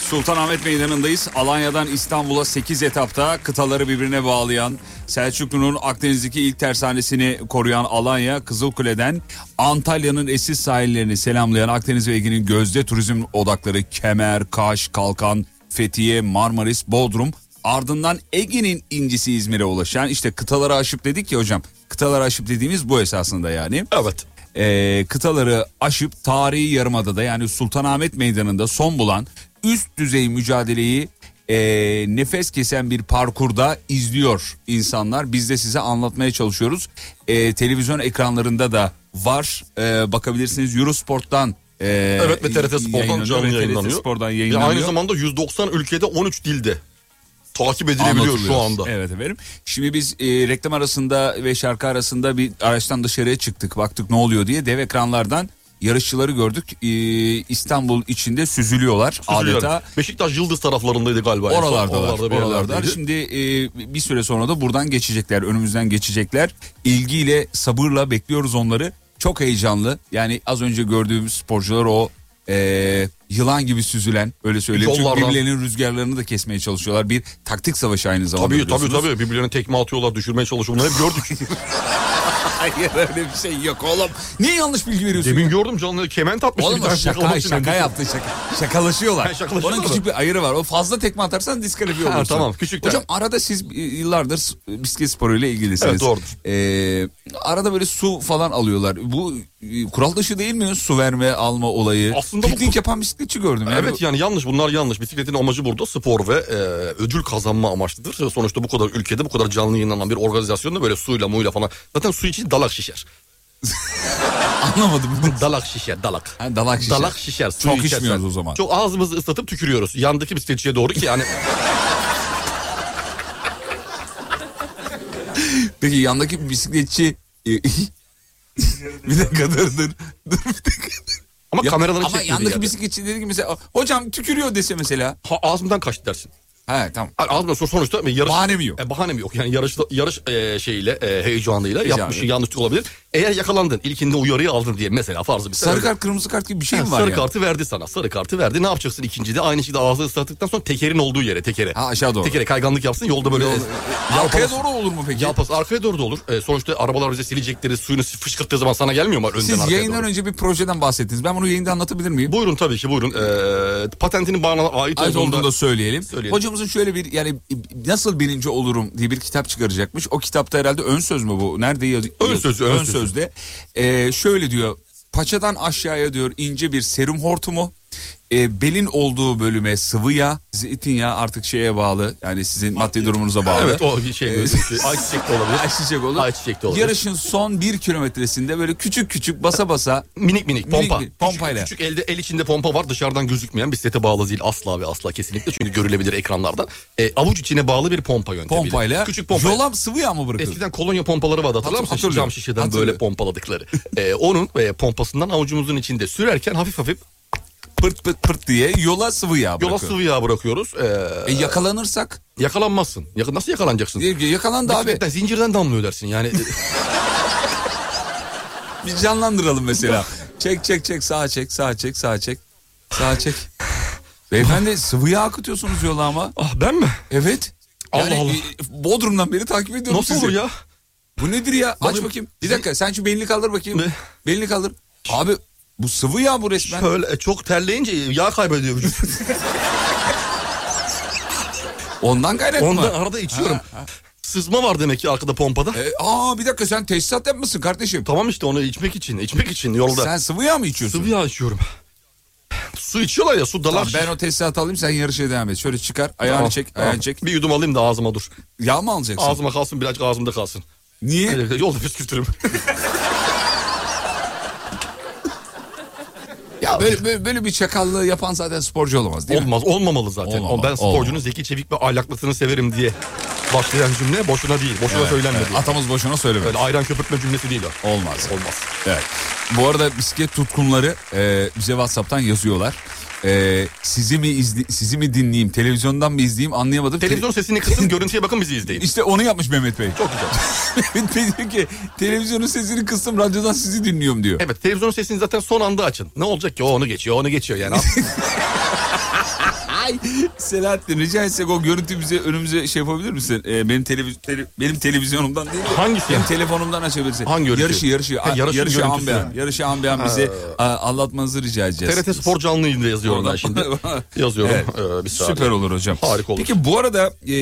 Speaker 4: Sultanahmet Meydanı'ndayız. Alanya'dan İstanbul'a 8 etapta kıtaları birbirine bağlayan, Selçuklu'nun Akdeniz'deki ilk tersanesini koruyan Alanya, Kızılkule'den Antalya'nın eşsiz sahillerini selamlayan Akdeniz ve Ege'nin gözde turizm odakları Kemer, Kaş, Kalkan, Fethiye, Marmaris, Bodrum, Ardından Ege'nin incisi İzmir'e ulaşan işte kıtaları aşıp dedik ya hocam. Kıtaları aşıp dediğimiz bu esasında yani
Speaker 3: Evet.
Speaker 4: e, kıtaları aşıp tarihi yarımadada yani Sultanahmet Meydanı'nda son bulan üst düzey mücadeleyi e, nefes kesen bir parkurda izliyor insanlar. Biz de size anlatmaya çalışıyoruz. E, televizyon ekranlarında da var E, bakabilirsiniz Eurosport'tan. e,
Speaker 3: Evet ve TRT Spor'dan
Speaker 4: yayınlanıyor
Speaker 3: canlı
Speaker 4: ve TRT
Speaker 3: yayınlanıyor.
Speaker 4: Spor'dan
Speaker 3: Ve
Speaker 4: yayınlanıyor.
Speaker 3: aynı zamanda 190 ülkede 13 dilde takip edilebiliyor şu
Speaker 4: Anlatılıyor.
Speaker 3: anda.
Speaker 4: Evet efendim. Şimdi biz e, reklam arasında ve şarkı arasında bir araçtan dışarıya çıktık. Baktık ne oluyor diye dev ekranlardan yarışçıları gördük. E, İstanbul içinde süzülüyorlar
Speaker 3: Üzülüyorum.
Speaker 4: adeta.
Speaker 3: Beşiktaş Yıldız taraflarındaydı galiba. en son.
Speaker 4: Oralardalar.
Speaker 3: bir
Speaker 4: Oralardalar.
Speaker 3: yerlerdeydi.
Speaker 4: Şimdi e, bir süre sonra da buradan geçecekler. Önümüzden geçecekler. İlgiyle, sabırla bekliyoruz onları. Çok heyecanlı. Yani az önce gördüğümüz sporcular o e, yılan gibi süzülen öyle söyleyeyim. Çünkü
Speaker 3: Yollardan.
Speaker 4: birbirlerinin rüzgarlarını da kesmeye çalışıyorlar. Bir taktik savaşı aynı zamanda.
Speaker 3: Tabii tabii
Speaker 4: biliyorsunuz. *laughs*
Speaker 3: tabii birbirlerine tekme atıyorlar düşürmeye çalışıyorlar hep gördük.
Speaker 4: Hayır öyle bir şey yok oğlum. Niye yanlış bilgi veriyorsun?
Speaker 3: Demin gördüm canlı kement atmış.
Speaker 4: Oğlum
Speaker 3: bir tane
Speaker 4: o şaka
Speaker 3: yakalamak için.
Speaker 4: şaka yaptı şaka. Şakalaşıyorlar.
Speaker 3: Ha, şakalaşıyorlar
Speaker 4: Onun
Speaker 3: mı?
Speaker 4: küçük bir ayırı var. O fazla tekme atarsan diskalifiye
Speaker 3: Ha,
Speaker 4: olursun.
Speaker 3: tamam, küçükten.
Speaker 4: Hocam arada siz e, yıllardır s- e, bisiklet sporuyla ilgilisiniz.
Speaker 3: Evet, doğrudur.
Speaker 4: Ee, arada böyle su falan alıyorlar. Bu e, kural dışı değil mi su verme alma olayı?
Speaker 3: Aslında bu-
Speaker 4: Piknik yapan bisikletçi gördüm. Yani
Speaker 3: Evet yani yanlış bunlar yanlış. Bisikletin amacı burada spor ve e, ödül kazanma amaçlıdır. Sonuçta bu kadar ülkede bu kadar canlı yayınlanan bir organizasyonda böyle suyla muyla falan. Zaten su için dalak şişer.
Speaker 4: *laughs*
Speaker 3: *laughs*
Speaker 4: Anlamadım.
Speaker 3: Dalak şişer dalak.
Speaker 4: Ha, dalak şişer.
Speaker 3: Dalak şişer. su
Speaker 4: Çok
Speaker 3: içersen.
Speaker 4: içmiyoruz o zaman.
Speaker 3: Çok ağzımızı ıslatıp tükürüyoruz. Yandaki bisikletçiye doğru ki
Speaker 4: *laughs*
Speaker 3: yani
Speaker 4: Peki yandaki bisikletçi... *laughs* bir dakika dur dur. Dur bir dakika.
Speaker 3: ama
Speaker 4: Ya-
Speaker 3: kameraları
Speaker 4: Ama
Speaker 3: çekmiyor.
Speaker 4: yandaki
Speaker 3: yani.
Speaker 4: bisikletçi dedi ki mesela hocam tükürüyor dese mesela.
Speaker 3: Ha, ağzımdan kaçtı dersin.
Speaker 4: He tamam.
Speaker 3: Yani ağzımdan sonra sonuçta yarış...
Speaker 4: Bahane mi yok?
Speaker 3: E, bahanem yok. Yani yarış, yarış e, şeyiyle e, heyecanıyla
Speaker 4: Heyecanı.
Speaker 3: yapmış yanlışlık olabilir. Eğer yakalandın ilkinde uyarıyı aldın diye mesela farzı bir
Speaker 4: Sarı kart kırmızı kart gibi bir şey mi var
Speaker 3: sarı
Speaker 4: yani?
Speaker 3: kartı verdi sana. Sarı kartı verdi. Ne yapacaksın ikincide? Aynı şekilde ağzını ıslattıktan sonra tekerin olduğu yere tekere.
Speaker 4: Ha aşağı doğru.
Speaker 3: Tekere kayganlık yapsın yolda böyle.
Speaker 4: Yol- Arkaya
Speaker 3: Yalpalası-
Speaker 4: doğru olur mu peki?
Speaker 3: Yalpalası arkaya doğru da olur. E, sonuçta arabalar bize silecekleri suyunu fışkırttığı zaman sana gelmiyor mu önden
Speaker 4: Siz
Speaker 3: arkaya
Speaker 4: yayından
Speaker 3: doğru?
Speaker 4: önce bir projeden bahsettiniz. Ben bunu yayında anlatabilir miyim?
Speaker 3: Buyurun tabii ki buyurun. E, patentinin bana ait,
Speaker 4: Ait olduğunu
Speaker 3: olduğunda...
Speaker 4: da söyleyelim.
Speaker 3: Söyleyelim.
Speaker 4: Hocamızın şöyle bir yani nasıl birinci olurum diye bir kitap çıkaracakmış. O kitapta herhalde ön söz mü bu? Nerede yaz-
Speaker 3: Ön
Speaker 4: yaz-
Speaker 3: sözü, ön sözü.
Speaker 4: sözde. Ee, şöyle diyor. Paçadan aşağıya diyor ince bir serum hortumu. Ee, belin olduğu bölüme sıvı yağ, zeytinyağı artık şeye bağlı. Yani sizin maddi durumunuza bağlı.
Speaker 3: Evet o şey.
Speaker 4: Ee,
Speaker 3: Ayçiçek de
Speaker 4: *laughs*
Speaker 3: olabilir.
Speaker 4: Ayçiçek olur.
Speaker 3: Ayçiçek de olur.
Speaker 4: Yarışın son bir kilometresinde böyle küçük küçük basa basa
Speaker 3: Minik minik
Speaker 4: Minik
Speaker 3: pompa.
Speaker 4: minik, pompayla.
Speaker 3: Küçük, küçük elde el içinde pompa var dışarıdan gözükmeyen bisiklete bağlı değil asla ve asla kesinlikle çünkü görülebilir ekranlardan. E, avuç içine bağlı bir pompa yöntemiyle.
Speaker 4: pompayla
Speaker 3: Küçük pompa.
Speaker 4: yola sıvı yağ mı bırakır?
Speaker 3: Eskiden kolonya pompaları vardı hatırlar mısın?
Speaker 4: Hatırlıyorum.
Speaker 3: Cam şişeden
Speaker 4: Hatırlıyorum.
Speaker 3: böyle pompaladıkları. Ee, onun e, pompasından avucumuzun içinde sürerken hafif hafif
Speaker 4: Pırt pırt pırt diye yola sıvı yağ
Speaker 3: yola
Speaker 4: bırakıyor.
Speaker 3: sıvı yağ bırakıyoruz. Ee,
Speaker 4: E yakalanırsak
Speaker 3: yakalanmazsın. Yak- nasıl yakalanacaksın?
Speaker 4: e,
Speaker 3: *laughs*
Speaker 4: yakalandı abi
Speaker 3: Bisikletten, zincirden damlıyor dersin yani.
Speaker 4: *laughs* bir canlandıralım mesela. çek çek çek sağa çek sağa çek sağa çek sağa çek. Beyefendi sıvı yağ akıtıyorsunuz yola ama.
Speaker 3: ah ben mi?
Speaker 4: Evet. Yani
Speaker 3: Allah Allah.
Speaker 4: e, Bodrum'dan beri takip ediyorum
Speaker 3: Nasıl
Speaker 4: sizi.
Speaker 3: olur ya?
Speaker 4: Bu nedir ya? Aç
Speaker 3: Oğlum,
Speaker 4: bakayım. Bir dakika sen şu belini kaldır bakayım.
Speaker 3: Ne?
Speaker 4: Belini kaldır. Abi bu sıvı yağ bu resmen.
Speaker 3: Şöyle e, çok terleyince yağ kaybediyor
Speaker 4: *laughs*
Speaker 3: vücut.
Speaker 4: Ondan kaynaklı mı?
Speaker 3: Ondan arada içiyorum. Sızma var demek ki arkada pompada.
Speaker 4: E, aa bir dakika sen tesisat yapmışsın kardeşim.
Speaker 3: Tamam işte onu içmek için, içmek için yolda.
Speaker 4: Sen sıvı yağ mı içiyorsun?
Speaker 3: Sıvı yağ içiyorum. Su içiyorlar ya su dalar.
Speaker 4: Tamam, ben o tesisatı alayım sen yarışa devam et. Şöyle çıkar ayağını
Speaker 3: Tamam,
Speaker 4: çek
Speaker 3: tamam.
Speaker 4: ayağını çek.
Speaker 3: Bir yudum alayım da ağzıma dur.
Speaker 4: Yağ mı alacaksın?
Speaker 3: Ağzıma kalsın birazcık ağzımda kalsın.
Speaker 4: Niye?
Speaker 3: Öyle Yolda püskürtürüm.
Speaker 4: Ya böyle, böyle, böyle bir çakallığı yapan zaten sporcu olamaz *laughs* değil mi?
Speaker 3: Olmaz, olmamalı zaten.
Speaker 4: Olmamalı,
Speaker 3: ben sporcunun
Speaker 4: olmamalı.
Speaker 3: zeki, çevik ve ahlaklısını severim diye başlayan cümle boşuna değil. Boşuna söylenmedi.
Speaker 4: Evet, atamız boşuna söylemedi.
Speaker 3: Öyle ayran köpürtme cümlesi değil o.
Speaker 4: Olmaz.
Speaker 3: Olmaz.
Speaker 4: Evet. Bu arada bisiklet tutkunları e, bize WhatsApp'tan yazıyorlar. E, sizi mi izli, sizi mi dinleyeyim, televizyondan mı izleyeyim anlayamadım.
Speaker 3: Televizyon sesini
Speaker 4: *laughs*
Speaker 3: kısın, görüntüye bakın bizi izleyin.
Speaker 4: işte onu yapmış Mehmet Bey.
Speaker 3: Çok güzel.
Speaker 4: Mehmet Bey diyor ki televizyonun sesini kıstım radyodan sizi dinliyorum diyor.
Speaker 3: Evet, televizyonun sesini zaten son anda açın. Ne olacak ki? O onu geçiyor, onu geçiyor yani.
Speaker 4: *laughs* Ay Selahattin rica etsek o görüntü bize önümüze şey yapabilir misin? Ee, benim televiz tele- benim televizyonumdan değil de
Speaker 3: Hangisi? *laughs*
Speaker 4: benim telefonumdan açabilirsin.
Speaker 3: Hangi görüntü?
Speaker 4: Yarışı yarışı
Speaker 3: Ha,
Speaker 4: A-
Speaker 3: yarışın
Speaker 4: yarışı, yarışı an
Speaker 3: görüntüsü.
Speaker 4: be an yarışı an be an bize a- anlatmanızı rica edeceğiz.
Speaker 3: TRT Spor canlı yayında yazıyorum ben
Speaker 4: *laughs*
Speaker 3: şimdi. Yazıyorum.
Speaker 4: Evet.
Speaker 3: Ee, bir saniye.
Speaker 4: Süper olur hocam.
Speaker 3: Harika olur.
Speaker 4: Peki bu arada e,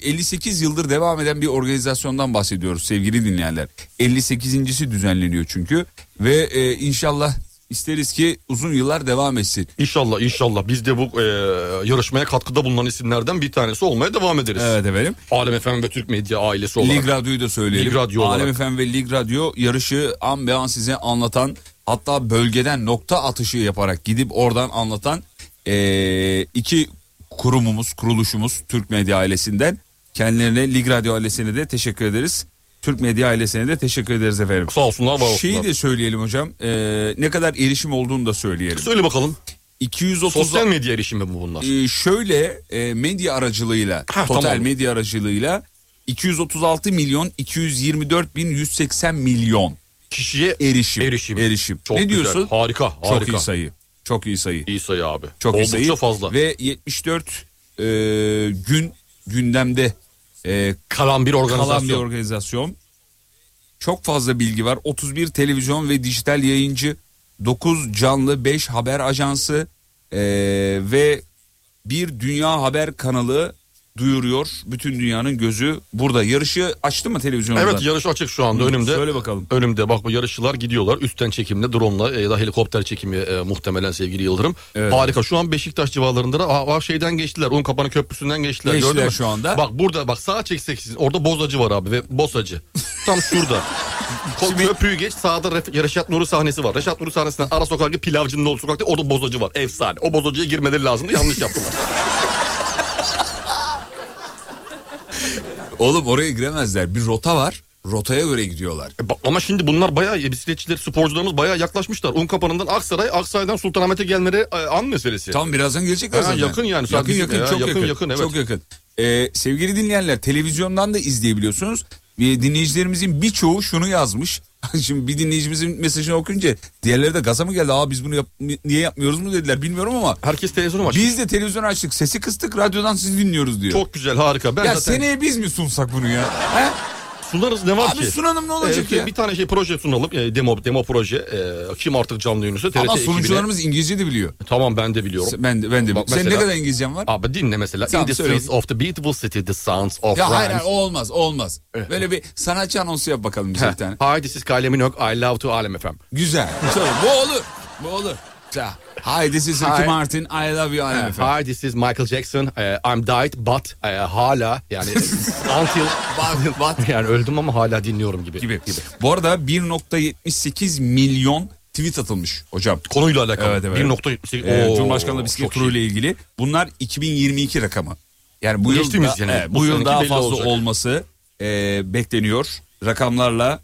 Speaker 4: 58 yıldır devam eden bir organizasyondan bahsediyoruz sevgili dinleyenler. 58.si düzenleniyor çünkü ve e, inşallah isteriz ki uzun yıllar devam etsin.
Speaker 3: İnşallah inşallah biz de bu e, yarışmaya katkıda bulunan isimlerden bir tanesi olmaya devam ederiz.
Speaker 4: Evet efendim.
Speaker 3: Alem FM ve Türk Medya ailesi olarak.
Speaker 4: Lig Radyo'yu da söyleyelim.
Speaker 3: Lig Radyo
Speaker 4: Alem
Speaker 3: olarak.
Speaker 4: FM ve Lig Radyo yarışı an be an size anlatan hatta bölgeden nokta atışı yaparak gidip oradan anlatan eee, iki kurumumuz, kuruluşumuz Türk Medya ailesinden. Kendilerine Lig Radyo ailesine de teşekkür ederiz. Türk Medya ailesine de teşekkür ederiz efendim.
Speaker 3: Sağ olsunlar var olsunlar.
Speaker 4: Şeyi de söyleyelim hocam. eee, ne kadar erişim olduğunu da söyleyelim.
Speaker 3: Söyle bakalım.
Speaker 4: 230
Speaker 3: Sosyal medya erişimi mi bunlar?
Speaker 4: ee, şöyle e, medya aracılığıyla
Speaker 3: Ha,
Speaker 4: total
Speaker 3: tamam.
Speaker 4: medya aracılığıyla 236 milyon 224 bin 180 milyon
Speaker 3: Kişiye
Speaker 4: erişim.
Speaker 3: Erişim.
Speaker 4: ne
Speaker 3: Çok güzel.
Speaker 4: diyorsun?
Speaker 3: Harika, harika.
Speaker 4: Çok iyi sayı. Çok iyi sayı.
Speaker 3: İyi sayı abi.
Speaker 4: Çok iyi
Speaker 3: Oldukça
Speaker 4: sayı.
Speaker 3: fazla.
Speaker 4: Ve 74 e, gün gündemde e,
Speaker 3: kalan bir organizasyon.
Speaker 4: kalan bir organizasyon. Çok fazla bilgi var. 31 televizyon ve dijital yayıncı, 9 canlı, 5 haber ajansı ee, ve bir dünya haber kanalı duyuruyor. Bütün dünyanın gözü burada. Yarışı açtı mı televizyonda?
Speaker 3: Evet yarış açık şu anda önümde.
Speaker 4: Söyle bakalım.
Speaker 3: Önümde bak bu yarışçılar gidiyorlar. Üstten çekimle drone'la e, ya da helikopter çekimi e, muhtemelen sevgili Yıldırım.
Speaker 4: Evet.
Speaker 3: Harika. Şu an Beşiktaş civarlarında da aa, aa, şeyden geçtiler. Un kapanı köprüsünden geçtiler.
Speaker 4: Geçtiler
Speaker 3: Gördün mü?
Speaker 4: şu anda.
Speaker 3: Bak burada bak sağa çeksek sizin. Orada bozacı var abi ve bozacı. Tam
Speaker 4: *laughs*
Speaker 3: şurada. Ko- Köprüyü geç sağda Ref- Reşat Nuri sahnesi var. Reşat Nuri sahnesinden ara sokaktaki pilavcının olduğu sokakta orada bozacı var. Efsane. O bozacıya girmeleri lazımdı. Yanlış yaptılar.
Speaker 4: Oğlum oraya giremezler. Bir rota var. Rotaya göre gidiyorlar.
Speaker 3: E ba- Ama şimdi bunlar bayağı e, bisikletçiler, sporcularımız bayağı yaklaşmışlar. Un kapanından Aksaray, Aksaray'dan Sultanahmet'e gelmeleri e, an meselesi.
Speaker 4: Tam birazdan gelecekler
Speaker 3: Ha,
Speaker 4: zaten.
Speaker 3: yakın yani. Saat
Speaker 4: Yakın
Speaker 3: bizim
Speaker 4: yakın
Speaker 3: ya.
Speaker 4: çok yakın.
Speaker 3: Yakın, yakın, evet.
Speaker 4: Çok yakın. Ee, sevgili dinleyenler televizyondan da izleyebiliyorsunuz. Ee, dinleyicilerimizin birçoğu şunu yazmış. *laughs* Şimdi bir dinleyicimizin mesajını okuyunca diğerleri de gaza mı geldi? Aa biz bunu yap- niye yapmıyoruz mu dediler bilmiyorum ama
Speaker 3: Herkes televizyonu açıyor.
Speaker 4: biz de televizyon açtık sesi kıstık radyodan sizi dinliyoruz diyor.
Speaker 3: Çok güzel harika. Ben
Speaker 4: ya
Speaker 3: zaten
Speaker 4: seneye biz mi sunsak bunu ya? He?
Speaker 3: sunarız ne var
Speaker 4: Abi
Speaker 3: ki?
Speaker 4: sunalım ne olacak
Speaker 3: Ee,
Speaker 4: ya?
Speaker 3: Bir tane şey proje sunalım. e, demo demo proje. E, kim artık canlı yayınlıyorsa TRT
Speaker 4: Ama
Speaker 3: ekibine-
Speaker 4: sunucularımız İngilizce de biliyor.
Speaker 3: Tamam ben de biliyorum.
Speaker 4: Ben de, ben de.
Speaker 3: Bak
Speaker 4: Senin
Speaker 3: mesela- Ah,
Speaker 4: ne kadar İngilizcen var?
Speaker 3: Abi dinle mesela.
Speaker 4: Tamam,
Speaker 3: In the
Speaker 4: söyle.
Speaker 3: streets of the beautiful city, the sounds of
Speaker 4: Ya hayır
Speaker 3: Rhymes.
Speaker 4: hayır o olmaz o olmaz. Böyle bir sanatçı anonsu yap bakalım bize bir tane.
Speaker 3: Hi this is Kylie Minogue. I love to Alem FM.
Speaker 4: *laughs* Güzel. Tamam, bu olur. Bu olur. Ta. Hi this is Ricky
Speaker 3: Hi.
Speaker 4: Martin. I love you Alem efendim.
Speaker 3: Hi this is Michael Jackson. Eh, I'm died but eh, hala
Speaker 4: *laughs*
Speaker 3: yani until
Speaker 4: Bat, bat
Speaker 3: yani öldüm ama hala dinliyorum gibi.
Speaker 4: gibi. Bu arada 1.78 milyon tweet atılmış hocam.
Speaker 3: Konuyla alakalı.
Speaker 4: Evet, evet.
Speaker 3: 1.78.
Speaker 4: Ee,
Speaker 3: Oo,
Speaker 4: Cumhurbaşkanlığı bisiklet
Speaker 3: çok şey. iyi.
Speaker 4: turuyla ilgili. Bunlar 2022 rakamı. Yani bu yıl
Speaker 3: Geçtiğimiz
Speaker 4: da-
Speaker 3: sene.
Speaker 4: evet,
Speaker 3: Bu
Speaker 4: bu yıl
Speaker 3: seneki
Speaker 4: daha
Speaker 3: belli
Speaker 4: fazla
Speaker 3: olacak.
Speaker 4: olması e, bekleniyor. Rakamlarla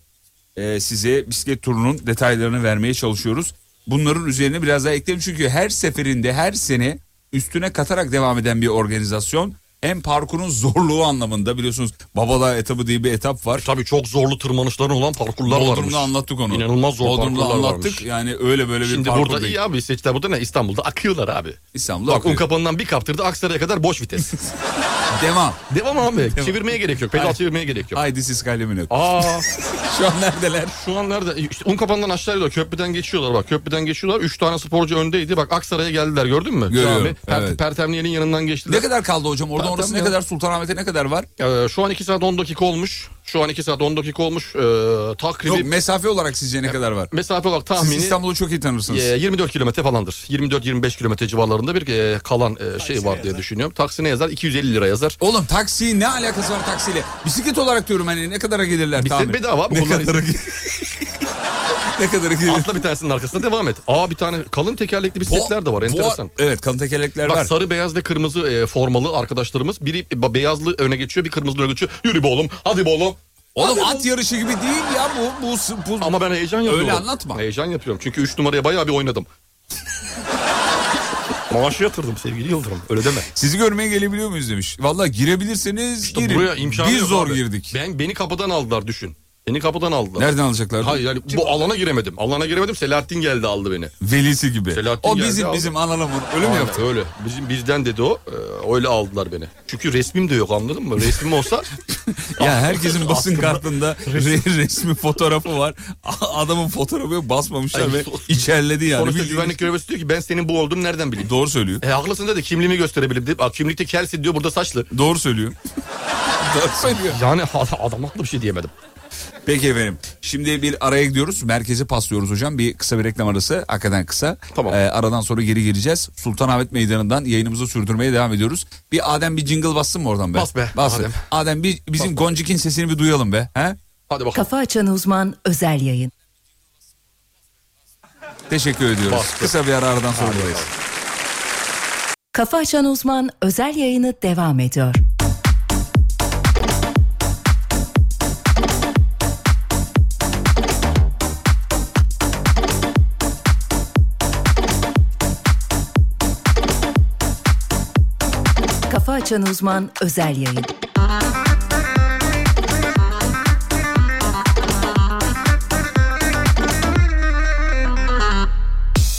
Speaker 4: e, size bisiklet turunun detaylarını vermeye çalışıyoruz. Bunların üzerine biraz daha ekleyelim çünkü her seferinde her sene üstüne katarak devam eden bir organizasyon. Hem parkurun zorluğu anlamında biliyorsunuz Babala etabı diye bir etap var.
Speaker 3: Tabii çok zorlu tırmanışların olan parkurlar varmış.
Speaker 4: Bodrum'da anlattık onu.
Speaker 3: İnanılmaz zor
Speaker 4: Bodrum'da
Speaker 3: parkurlar
Speaker 4: anlattık.
Speaker 3: varmış.
Speaker 4: Yani öyle böyle bir
Speaker 3: Şimdi
Speaker 4: parkur
Speaker 3: burada
Speaker 4: değil.
Speaker 3: iyi abi seçtiler burada ne İstanbul'da akıyorlar abi.
Speaker 4: İstanbul'da
Speaker 3: Bak un
Speaker 4: akıyor.
Speaker 3: kapanından bir kaptırdı Aksaray'a kadar boş
Speaker 4: *laughs*
Speaker 3: vites.
Speaker 4: Devam.
Speaker 3: Devam abi çevirmeye gerek yok pedal çevirmeye gerek yok.
Speaker 4: Haydi siz kalemini ök.
Speaker 3: Aa
Speaker 4: *laughs* Şu an neredeler?
Speaker 3: şu an nerede? İşte un kapanından aşağı gidiyor. Köprüden geçiyorlar bak. Köprüden geçiyorlar. Üç tane sporcu öndeydi. Bak Aksaray'a geldiler gördün mü?
Speaker 4: Görüyorum,
Speaker 3: Cami, Per-
Speaker 4: evet.
Speaker 3: Pertemniye'nin yanından
Speaker 4: Ne
Speaker 3: geçtiler.
Speaker 4: kadar kaldı hocam? Oradan
Speaker 3: Zaten
Speaker 4: orası ne
Speaker 3: ya.
Speaker 4: kadar? Sultanahmet'e ne kadar var?
Speaker 3: Ee, şu an 2 saat 10 dakika olmuş. Şu an 2 saat 10 dakika olmuş. Ee, takribi
Speaker 4: Yok mesafe olarak sizce ne kadar var?
Speaker 3: mesafe olarak
Speaker 4: Siz
Speaker 3: tahmini
Speaker 4: İstanbul'u çok iyi tanırsınız.
Speaker 3: e, 24 kilometre falandır. 24-25 kilometre civarlarında bir e, kalan e, şey var diye düşünüyorum. Taksine yazar 250 lira yazar.
Speaker 4: Oğlum taksi ne alakası var taksiyle? Bisiklet olarak diyorum hani ne kadara gelirler
Speaker 3: Bisiklet
Speaker 4: tahmin.
Speaker 3: bedava abi,
Speaker 4: Ne
Speaker 3: kullan *laughs*
Speaker 4: kadara ge- ne kadara gelir?
Speaker 3: Atla bir tanesinin arkasına devam et. Aa bir tane kalın tekerlekli bisikletler de var
Speaker 4: Bu-
Speaker 3: enteresan.
Speaker 4: Evet kalın tekerlekler
Speaker 3: Bak
Speaker 4: var.
Speaker 3: sarı beyaz ve kırmızı e, formalı arkadaşlarımız biri e, beyazlı öne geçiyor bir kırmızı öne geçiyor. Yürü be oğlum hadi be oğlum.
Speaker 4: Oğlum
Speaker 3: Hadi
Speaker 4: at yarışı gibi değil ya bu. bu, bu,
Speaker 3: Ama ben heyecan yapıyorum.
Speaker 4: anlatma.
Speaker 3: Heyecan yapıyorum çünkü 3 numaraya bayağı bir *laughs* oynadım. Maaşı yatırdım sevgili Yıldırım öyle deme.
Speaker 4: Sizi görmeye gelebiliyor muyuz demiş. Valla girebilirseniz
Speaker 3: İşte
Speaker 4: girin.
Speaker 3: buraya imkanı
Speaker 4: Biz
Speaker 3: yok
Speaker 4: zor
Speaker 3: abi.
Speaker 4: girdik.
Speaker 3: Ben, beni kapıdan aldılar düşün. Beni kapıdan aldılar.
Speaker 4: Nereden alacaklar?
Speaker 3: Hayır yani bu alana giremedim. Alana giremedim Selahattin geldi aldı beni.
Speaker 4: Velisi gibi.
Speaker 3: Selahattin
Speaker 4: O
Speaker 3: geldi
Speaker 4: bizim
Speaker 3: aldı.
Speaker 4: bizim analamın. Öyle mi
Speaker 3: Aynen,
Speaker 4: yaptı?
Speaker 3: Öyle. Bizim bizden dedi o. Ee, öyle aldılar beni. Çünkü resmim de yok anladın mı? Resmim *laughs* olsa *laughs*
Speaker 4: Ya herkesin basın kartında re- resmi fotoğrafı var. A- Adamın fotoğrafı yok basmamışlar
Speaker 3: Ay,
Speaker 4: ve
Speaker 3: so-
Speaker 4: içerledi yani.
Speaker 3: sonuçta
Speaker 4: Bildiğiniz-
Speaker 3: güvenlik görevlisi diyor ki ben senin bu olduğumu nereden bileyim?
Speaker 4: Doğru söylüyor.
Speaker 3: E haklısın dedi kimliğimi gösterebilirim dedi. Bak kimlikte Kelsey diyor burada saçlı. *laughs*
Speaker 4: Doğru söylüyor. Doğru söylüyor.
Speaker 3: Yani *laughs* ad- adam haklı bir şey diyemedim.
Speaker 4: Peki efendim. Şimdi bir araya gidiyoruz. Merkeze paslıyoruz hocam. Bir kısa bir reklam arası. Hakikaten kısa.
Speaker 3: Tamam.
Speaker 4: Ee, aradan sonra geri geleceğiz. Sultanahmet Meydanı'ndan yayınımızı sürdürmeye devam ediyoruz. Bir Adem bir jingle bassın mı oradan be?
Speaker 3: Bas be,
Speaker 4: Bas Adem.
Speaker 3: Adem.
Speaker 4: Adem bir bizim Goncik'in sesini bir duyalım be. He?
Speaker 3: Hadi bakalım.
Speaker 1: Kafa Açan Uzman özel yayın.
Speaker 4: Teşekkür ediyoruz.
Speaker 3: Bastı.
Speaker 4: Kısa bir ara aradan sonra buradayız.
Speaker 1: Kafa Açan Uzman özel yayını devam ediyor. Kafa Açan Uzman özel yayın.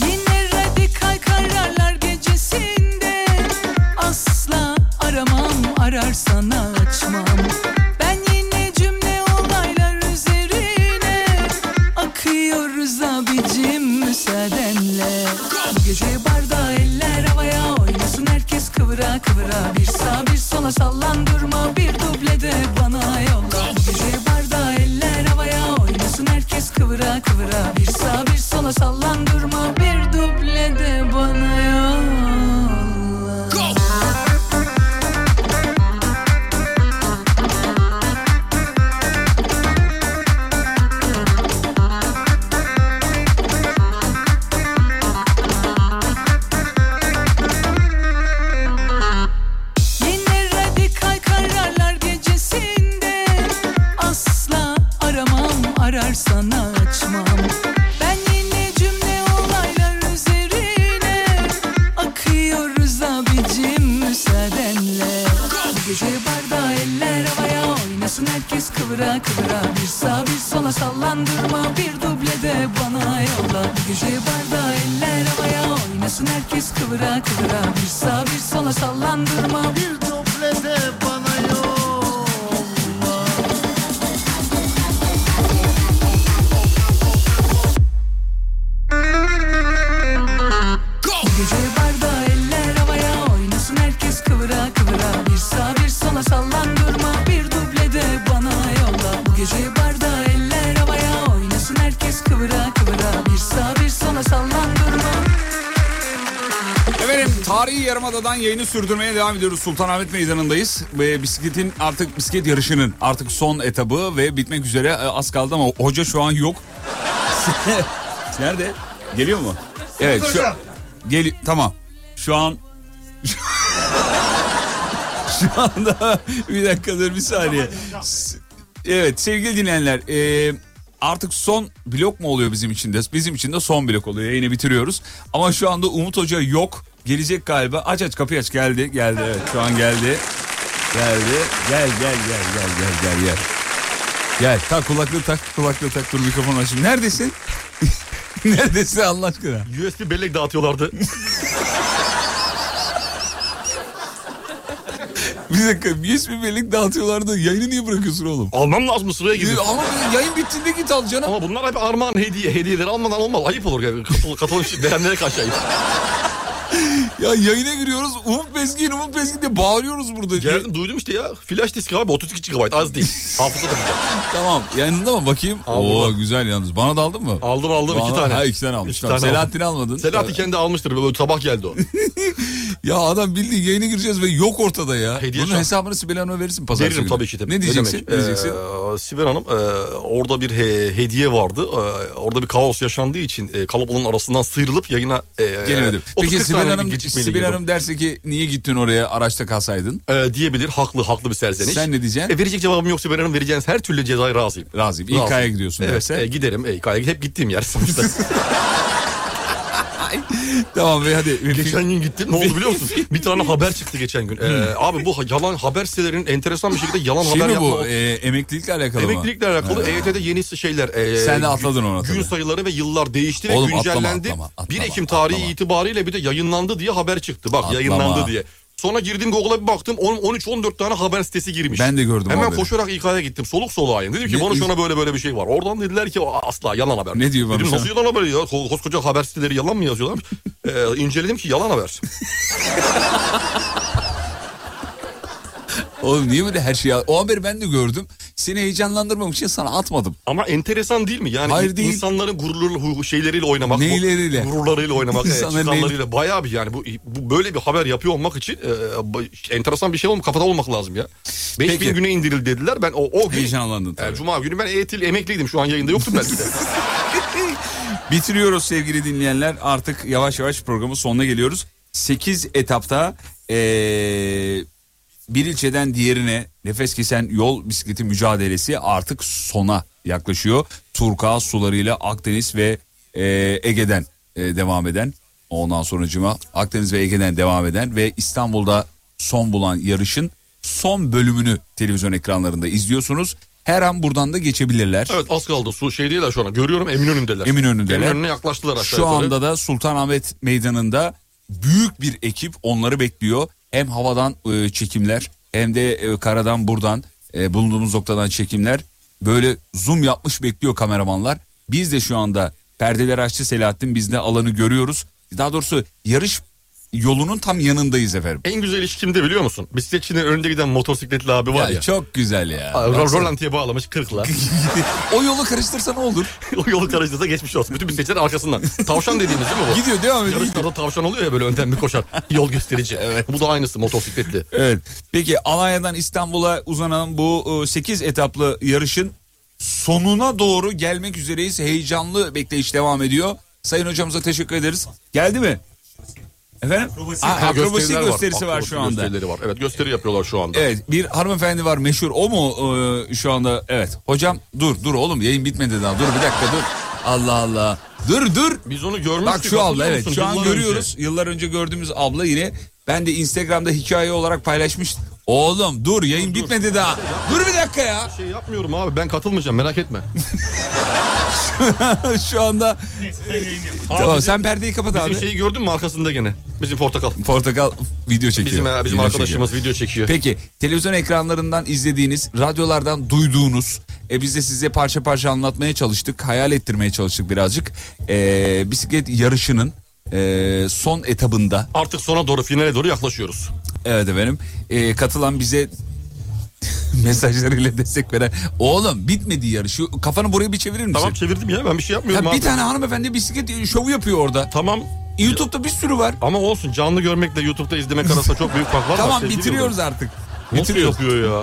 Speaker 5: Yine radikal kararlar gecesinde Asla aramam ararsan açmam Ben yine cümle olaylar üzeri sağa kıvıra Bir sağ bir sola sallan durma Bir duble de bana yolla Bu gece barda eller havaya Oynasın herkes kıvıra kıvıra Bir sağ bir sola sallan durma Bir duble de bana yolla Yine radikal kararlar gecesinde Asla aramam arar sana açmam Ben yine cümle olaylar üzerine Akıyoruz abicim müsaadenle Bu Gece barda eller havaya oynasın herkes kıvıra kıvıra Bir sağ bir sola sallandırma bir duble de bana yolla Bu Gece barda eller havaya oynasın herkes kıvıra kıvıra Bir sağ bir sola sallandırma bir Gece barda eller havaya oynasın herkes kıvıra kıvıra Bir sağ bir sola sallan durma bir duble de bana yolla Bu gece barda eller havaya oynasın herkes kıvıra kıvıra Bir sağ bir sola sallan durma
Speaker 4: Efendim tarihi yarımadadan yayını sürdürmeye devam ediyoruz. Sultanahmet Meydanı'ndayız. Ve bisikletin artık bisiklet yarışının artık son etabı ve bitmek üzere E, az kaldı ama hoca şu an yok. *laughs* Nerede? Geliyor mu? Evet şu Gel tamam. Şu an şu anda *laughs* bir dakikadır bir saniye. S- Evet sevgili dinleyenler e, artık son blok mu oluyor bizim için de? Bizim için de son blok oluyor yayını bitiriyoruz. Ama şu anda Umut Hoca yok gelecek galiba aç aç kapıyı aç geldi geldi evet şu an geldi. Geldi gel gel gel gel gel gel gel. Gel tak kulaklığı tak kulaklığı tak dur mikrofonu açayım. Neredesin? *laughs* Neredesin Allah aşkına?
Speaker 3: USB bellek dağıtıyorlardı.
Speaker 4: Bir dakika yes mi birlik dağıtıyorlardı. Yayını niye bırakıyorsun oğlum?
Speaker 3: Almam lazım *laughs* sıraya girdim.
Speaker 4: Ama yayın bittiğinde git al canım.
Speaker 3: Ama bunlar hep armağan hediye. Hediyeleri almadan olmaz. Ayıp olur. Yani. Katıl, katılım beğenilere karşı ayıp.
Speaker 4: Ya yayına giriyoruz. Umut Bezgin, Umut Bezgin diye bağırıyoruz burada.
Speaker 3: Geldim duydum işte ya. Flash disk abi 32 GB az değil. Hafıza da güzel.
Speaker 4: Tamam yayınında mı bakayım?
Speaker 3: Aldım.
Speaker 4: Oo güzel yalnız. Bana da aldın mı?
Speaker 3: Aldım aldım iki
Speaker 4: Bana-
Speaker 3: tane.
Speaker 4: Ha iki tane almış.
Speaker 3: İki
Speaker 4: Tamam.
Speaker 3: tane aldım.
Speaker 4: Selahattin'i almadın.
Speaker 3: Selahattin
Speaker 4: Evet.
Speaker 3: kendi almıştır. Böyle sabah geldi o.
Speaker 4: Ya adam bildiğin yayına gireceğiz ve yok ortada ya.
Speaker 3: Hediye
Speaker 4: Bunun
Speaker 3: şu an-
Speaker 4: hesabını Sibel Hanım'a verirsin pazartesi
Speaker 3: Veririm
Speaker 4: günü.
Speaker 3: tabii ki tabii.
Speaker 4: Ne diyeceksin?
Speaker 3: demek?
Speaker 4: ne diyeceksin?
Speaker 3: Ee, Sibel Hanım e, orada bir he- hediye vardı. Ee, orada bir kaos yaşandığı için e, kalabalığın arasından sıyrılıp yayına... E,
Speaker 4: Gelemedim.
Speaker 3: 30-40
Speaker 4: Peki Sibel
Speaker 3: saniye
Speaker 4: Hanım,
Speaker 3: gecikmeyle
Speaker 4: Sibel
Speaker 3: girdim.
Speaker 4: Hanım derse ki niye gittin oraya araçta kalsaydın?
Speaker 3: E, diyebilir. Haklı haklı bir serzeniş.
Speaker 4: Sen ne diyeceksin?
Speaker 3: E, verecek cevabım yok Sibel Hanım. Vereceğiniz her türlü cezaya razıyım.
Speaker 4: Razıyım. İK'ya gidiyorsun
Speaker 3: Evet,
Speaker 4: derse.
Speaker 3: e, giderim. E, İK'ya hep gittiğim yer
Speaker 4: *laughs*
Speaker 3: sonuçta.
Speaker 4: Tamam ve hadi.
Speaker 3: Geçen gün gittim. Ne oldu biliyor
Speaker 4: *laughs*
Speaker 3: musun? Bir tane haber çıktı geçen gün. Ee, abi bu ha- yalan haber sitelerinin enteresan bir şekilde yalan
Speaker 4: Hmm. Şey
Speaker 3: haber
Speaker 4: mi
Speaker 3: yapma.
Speaker 4: bu? Ee, emeklilikle alakalı mı?
Speaker 3: Emeklilikle alakalı EYT'de yeni şeyler. e,
Speaker 4: Sen de atladın onu
Speaker 3: Gün
Speaker 4: tabii.
Speaker 3: sayıları ve yıllar değişti
Speaker 4: Oğlum
Speaker 3: ve
Speaker 4: atlama,
Speaker 3: güncellendi.
Speaker 4: atlama, atlama,
Speaker 3: 1 Ekim tarihi
Speaker 4: atlama.
Speaker 3: itibariyle bir de yayınlandı diye haber çıktı. Bak
Speaker 4: Atlama.
Speaker 3: yayınlandı diye. Sonra girdim Google'a bir baktım 13-14 tane haber sitesi girmiş.
Speaker 4: Ben de gördüm
Speaker 3: Hemen
Speaker 4: haberi.
Speaker 3: koşarak İK'ya gittim. Soluk soluğa indim. Dedim ki
Speaker 4: Ne-
Speaker 3: bana şuna böyle böyle bir şey var. Oradan dediler ki "Aa, asla yalan haber.
Speaker 4: Ne diyor bana
Speaker 3: Dedim
Speaker 4: sana?
Speaker 3: nasıl yalan haber ya? Ko- Koskoca haber siteleri yalan mı yazıyorlar? *laughs* ee, inceledim ki yalan haber.
Speaker 4: Oğlum niye böyle her şeyi... O haberi ben de gördüm. Seni heyecanlandırmamak için sana atmadım.
Speaker 3: Ama enteresan değil mi? Yani
Speaker 4: Hayır değil.
Speaker 3: insanların gururlu hu- hu- şeyleriyle oynamak, bu-
Speaker 4: Neyleriyle?
Speaker 3: gururlarıyla oynamak, e,
Speaker 4: İnsanların
Speaker 3: çıkarlarıyla bayağı bir yani bu, bu böyle bir haber yapıyor olmak için e, ba- enteresan bir şey olmak kafada olmak lazım ya. 5000
Speaker 4: Peki.
Speaker 3: güne indirildi dediler. Ben o, o gün
Speaker 4: Heyecanlandın
Speaker 3: e,
Speaker 4: tabii.
Speaker 3: Cuma günü ben EYT'li emekliydim. Şu an yayında yoktum
Speaker 4: *laughs*
Speaker 3: belki de.
Speaker 4: Bitiriyoruz sevgili dinleyenler. Artık yavaş yavaş programın sonuna geliyoruz. 8 etapta ee, bir ilçeden diğerine nefes kesen yol bisikleti mücadelesi artık sona yaklaşıyor. Turkuaz sularıyla Akdeniz ve ee, Ege'den ee, devam eden ondan sonracıma Akdeniz ve Ege'den devam eden ve İstanbul'da son bulan yarışın son bölümünü televizyon ekranlarında izliyorsunuz. Her an buradan da geçebilirler.
Speaker 3: evet az kaldı. Su şey değiller şu an. Görüyorum Eminönü'ndeler.
Speaker 4: Eminönü'ndeler.
Speaker 3: Eminönü'ne yaklaştılar aşağı
Speaker 4: Şu
Speaker 3: yukarı.
Speaker 4: anda da Sultanahmet Meydanı'nda büyük bir ekip onları bekliyor. Hem havadan e, çekimler hem de e, karadan buradan e, bulunduğumuz noktadan çekimler. Böyle zoom yapmış bekliyor kameramanlar. Biz de şu anda perdeleri açtı Selahattin biz de alanı görüyoruz. Daha doğrusu yarış yolunun tam yanındayız efendim.
Speaker 3: En güzel ilişki kimde biliyor musun? Bisikletçinin önünde giden motosikletli abi var
Speaker 4: Ya,
Speaker 3: ya.
Speaker 4: çok güzel ya.
Speaker 3: Ro-
Speaker 4: Baksana.
Speaker 3: Rolanti'ye bağlamış
Speaker 4: *laughs*
Speaker 3: kırkla.
Speaker 4: o yolu karıştırsa ne olur?
Speaker 3: *laughs* o yolu karıştırsa geçmiş olsun. Bütün bisikletçiler arkasından. Tavşan dediğimiz değil mi bu?
Speaker 4: Gidiyor devam ediyor.
Speaker 3: Yarışlarda tavşan oluyor ya böyle önden bir koşar. Yol
Speaker 4: *laughs*
Speaker 3: gösterici. Bu da aynısı motosikletli.
Speaker 4: Evet. Peki Alanya'dan İstanbul'a uzanan bu 8 etaplı yarışın sonuna doğru gelmek üzereyiz. Heyecanlı bekleyiş devam ediyor. Sayın hocamıza teşekkür ederiz. Geldi mi? Efendim? Akrobasi,
Speaker 3: Ha,
Speaker 4: akrobasi
Speaker 3: gösteriler var.
Speaker 4: gösterisi var
Speaker 3: Akrobasi
Speaker 4: şu anda.
Speaker 3: Gösterileri var. Evet gösteri yapıyorlar şu anda.
Speaker 4: Evet bir hanımefendi var meşhur o mu e, şu anda? Evet hocam dur dur oğlum yayın bitmedi daha dur bir dakika dur. Allah Allah. Dur dur.
Speaker 3: Biz onu görmüştük.
Speaker 4: Bak şu abla
Speaker 3: hatırlıyor
Speaker 4: evet
Speaker 3: musun?
Speaker 4: şu an
Speaker 3: Yıllar önce.
Speaker 4: görüyoruz. Yıllar önce gördüğümüz abla yine ben de Instagram'da hikaye olarak paylaşmış. Oğlum dur yayın bitmedi daha. Dur bir dakika ya. *laughs*
Speaker 3: Şey yapmıyorum abi ben katılmayacağım merak etme.
Speaker 4: şu anda. *laughs* Tamam sen perdeyi kapat
Speaker 3: Bizim şey-
Speaker 4: abi.
Speaker 3: şeyi gördün mü arkasında gene? Bizim portakal.
Speaker 4: Portakal video çekiyor.
Speaker 3: Bizim, e, bizim
Speaker 4: Video çekiyor.
Speaker 3: arkadaşımız video çekiyor.
Speaker 4: Peki televizyon ekranlarından izlediğiniz, radyolardan duyduğunuz, e, biz de size parça parça anlatmaya çalıştık, hayal ettirmeye çalıştık birazcık. E, bisiklet yarışının e, son etabında,
Speaker 3: Artık sona doğru finale doğru yaklaşıyoruz.
Speaker 4: evet efendim, e, katılan bize *laughs* mesajlarıyla destek veren, oğlum bitmedi yarış, Şu kafanı buraya bir çevirir misin?
Speaker 3: Tamam çevirdim ya ben bir şey yapmıyorum
Speaker 4: Ya
Speaker 3: abi.
Speaker 4: bir tane hanımefendi bisiklet şovu yapıyor orada.
Speaker 3: Tamam
Speaker 4: YouTube'da bir sürü var.
Speaker 3: ama olsun canlı görmekle YouTube'da izlemek arasında çok büyük fark var. şey
Speaker 4: Tamam
Speaker 3: sevgili
Speaker 4: bitiriyoruz
Speaker 3: yıldız.
Speaker 4: artık.
Speaker 3: Nasıl
Speaker 4: Bitiriyoruz.
Speaker 3: yapıyor ya?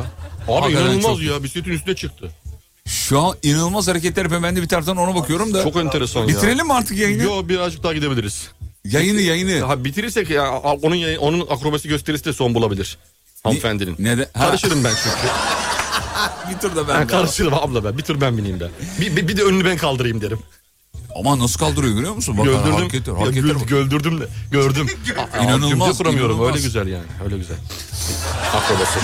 Speaker 3: Abi
Speaker 4: Hakikaten
Speaker 3: inanılmaz
Speaker 4: çok-
Speaker 3: ya bisikletin üstüne çıktı.
Speaker 4: Şu an inanılmaz hareketler yapıyor. Ben de bir taraftan ona bakıyorum da.
Speaker 3: Çok enteresan ya.
Speaker 4: Bitirelim mi artık yayını?
Speaker 3: Yo birazcık daha gidebiliriz.
Speaker 4: Yayını yayını.
Speaker 3: Ha bitirirsek ya a- onun yayın- onun akrobasi gösterisi de son bulabilir. Hanımefendinin.
Speaker 4: Neden? Ha.
Speaker 3: Karışırım ben çünkü.
Speaker 4: Bir tur da
Speaker 3: Ben
Speaker 4: ben. de.
Speaker 3: karışırım abla ben. Bir tur ben bineyim ben. Bir, bir, bir de önünü ben kaldırayım derim.
Speaker 4: Aman nasıl kaldırıyor görüyor musun? Bak,
Speaker 3: Göldürdüm.
Speaker 4: hareketler,
Speaker 3: Ya,
Speaker 4: hareketler
Speaker 3: gül-
Speaker 4: bak.
Speaker 3: göldürdüm de.
Speaker 4: *laughs*
Speaker 3: Gördüm. Aa, aa,
Speaker 4: İnanılmaz,
Speaker 3: cümle kuramıyorum.
Speaker 4: inanılmaz.
Speaker 3: Öyle güzel yani. Öyle güzel. Akrobasi.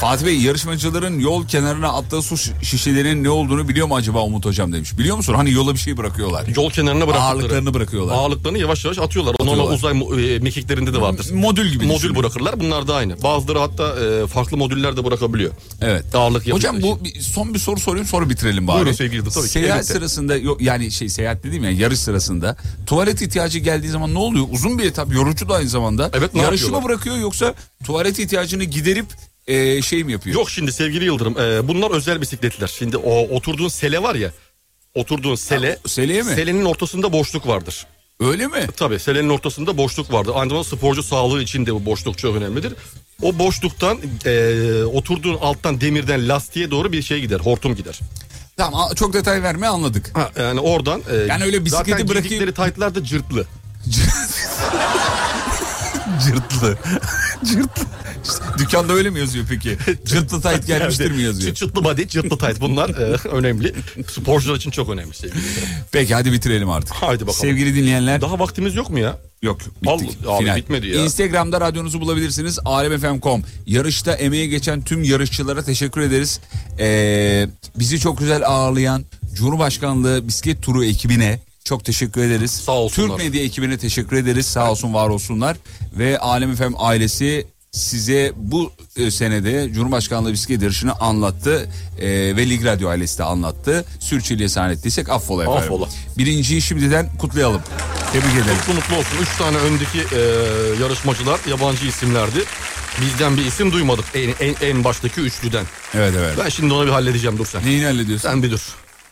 Speaker 4: Fatih Bey yarışmacıların yol kenarına attığı su şi- şişelerinin ne olduğunu biliyor mu acaba Umut Hocam demiş. Biliyor musun? Hani yola bir şey bırakıyorlar.
Speaker 3: Yol kenarına bıraktıkları.
Speaker 4: Ağırlıklarını bırakıyorlar.
Speaker 3: Ağırlıklarını yavaş yavaş atıyorlar. Onun
Speaker 4: Atıyorlar.
Speaker 3: uzay mu- e, mekiklerinde de vardır.
Speaker 4: Modül gibi
Speaker 3: Modül
Speaker 4: düşünün.
Speaker 3: bırakırlar. Bunlar da aynı. Bazıları hatta e, farklı modüller de bırakabiliyor.
Speaker 4: Evet.
Speaker 3: Ağırlık yapıyor.
Speaker 4: Hocam bu bir- son bir soru sorayım sonra bitirelim bari.
Speaker 3: Buyurun sevgili Yıldız, tabii ki,
Speaker 4: Seyahat
Speaker 3: elbette.
Speaker 4: sırasında yo- yani şey seyahat dediğim ya yarış sırasında tuvalet ihtiyacı geldiği zaman ne oluyor? Uzun bir etap yorucu da aynı zamanda.
Speaker 3: Evet, ne
Speaker 4: Yarışı mı
Speaker 3: yapıyorlar?
Speaker 4: bırakıyor yoksa tuvalet ihtiyacını giderip e, şey mi yapıyor?
Speaker 3: Yok şimdi sevgili Yıldırım e, bunlar özel bisikletler. Şimdi o oturduğun sele var ya. Oturduğun sele.
Speaker 4: seleye mi?
Speaker 3: Selenin ortasında boşluk vardır.
Speaker 4: Öyle mi?
Speaker 3: Tabii selenin ortasında boşluk vardır. Aynı zamanda sporcu sağlığı için de bu boşluk çok önemlidir. O boşluktan e, oturduğun alttan demirden lastiğe doğru bir şey gider. Hortum gider.
Speaker 4: Tamam a- çok detay verme anladık.
Speaker 3: Ha, yani oradan e,
Speaker 4: Yani öyle bisikleti
Speaker 3: zaten
Speaker 4: bırakayım-
Speaker 3: giydikleri taytlar da cırtlı.
Speaker 4: Cırtlı. *laughs* Cırtlı. Dükkanda öyle mi yazıyor peki? Cırtlı tayt gelmiştir mi yazıyor?
Speaker 3: Çıt çıtlı body, cırtlı tayt bunlar e, *laughs* önemli. Sporcular için çok önemli şey. sevgili.
Speaker 4: Peki hadi bitirelim artık.
Speaker 3: Haydi bakalım.
Speaker 4: Sevgili dinleyenler.
Speaker 3: Daha vaktimiz yok mu ya?
Speaker 4: Yok bittik.
Speaker 3: Al- abi bitmedi ya.
Speaker 4: Instagram'da radyonuzu bulabilirsiniz. alemfm.com. Yarışta emeğe geçen tüm yarışçılara teşekkür ederiz. Ee, bizi çok güzel ağırlayan Cumhurbaşkanlığı bisiklet turu ekibine çok teşekkür ederiz.
Speaker 3: Sağ olsunlar.
Speaker 4: Türk medya ekibine teşekkür ederiz. Sağ olsun var olsunlar. Ve Alem FM ailesi size bu e, senede Cumhurbaşkanlığı bisiklet yarışını anlattı. Ee, ve Lig Radyo ailesi de anlattı. Sürçülisan ettiysek affola efendim.
Speaker 3: Affola.
Speaker 4: Birinciyi şimdiden kutlayalım. Tebrik ederim.
Speaker 3: Mutlu mutlu olsun. Üç tane öndeki e, yarışmacılar yabancı isimlerdi. Bizden bir isim duymadık en, en, en baştaki üçlüden.
Speaker 4: Evet evet.
Speaker 3: Ben şimdi onu bir halledeceğim dur sen.
Speaker 4: Neyini hallediyorsun?
Speaker 3: Sen bir dur.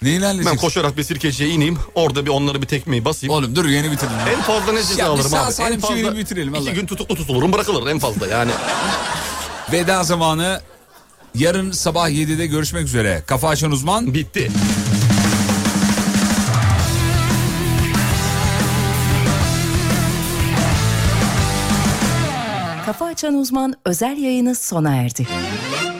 Speaker 4: Neyini
Speaker 3: Ben
Speaker 4: halledeceksin?
Speaker 3: koşarak bir sirkeciye ineyim. Orada bir onları bir tekmeyi basayım.
Speaker 4: Oğlum dur yeni bitirdim.
Speaker 3: En fazla ne
Speaker 4: Ya
Speaker 3: ceza
Speaker 4: bir
Speaker 3: alırım
Speaker 4: sağ
Speaker 3: abi?
Speaker 4: salim
Speaker 3: en
Speaker 4: şu
Speaker 3: fazla
Speaker 4: yeri bitirelim,
Speaker 3: iki
Speaker 4: vallahi.
Speaker 3: gün tutuklu tutulurum bırakılır en fazla yani.
Speaker 4: Veda zamanı yarın sabah 7'de görüşmek üzere. Kafa açan uzman.
Speaker 3: Bitti.
Speaker 1: Kafa Açan Uzman özel yayını sona erdi.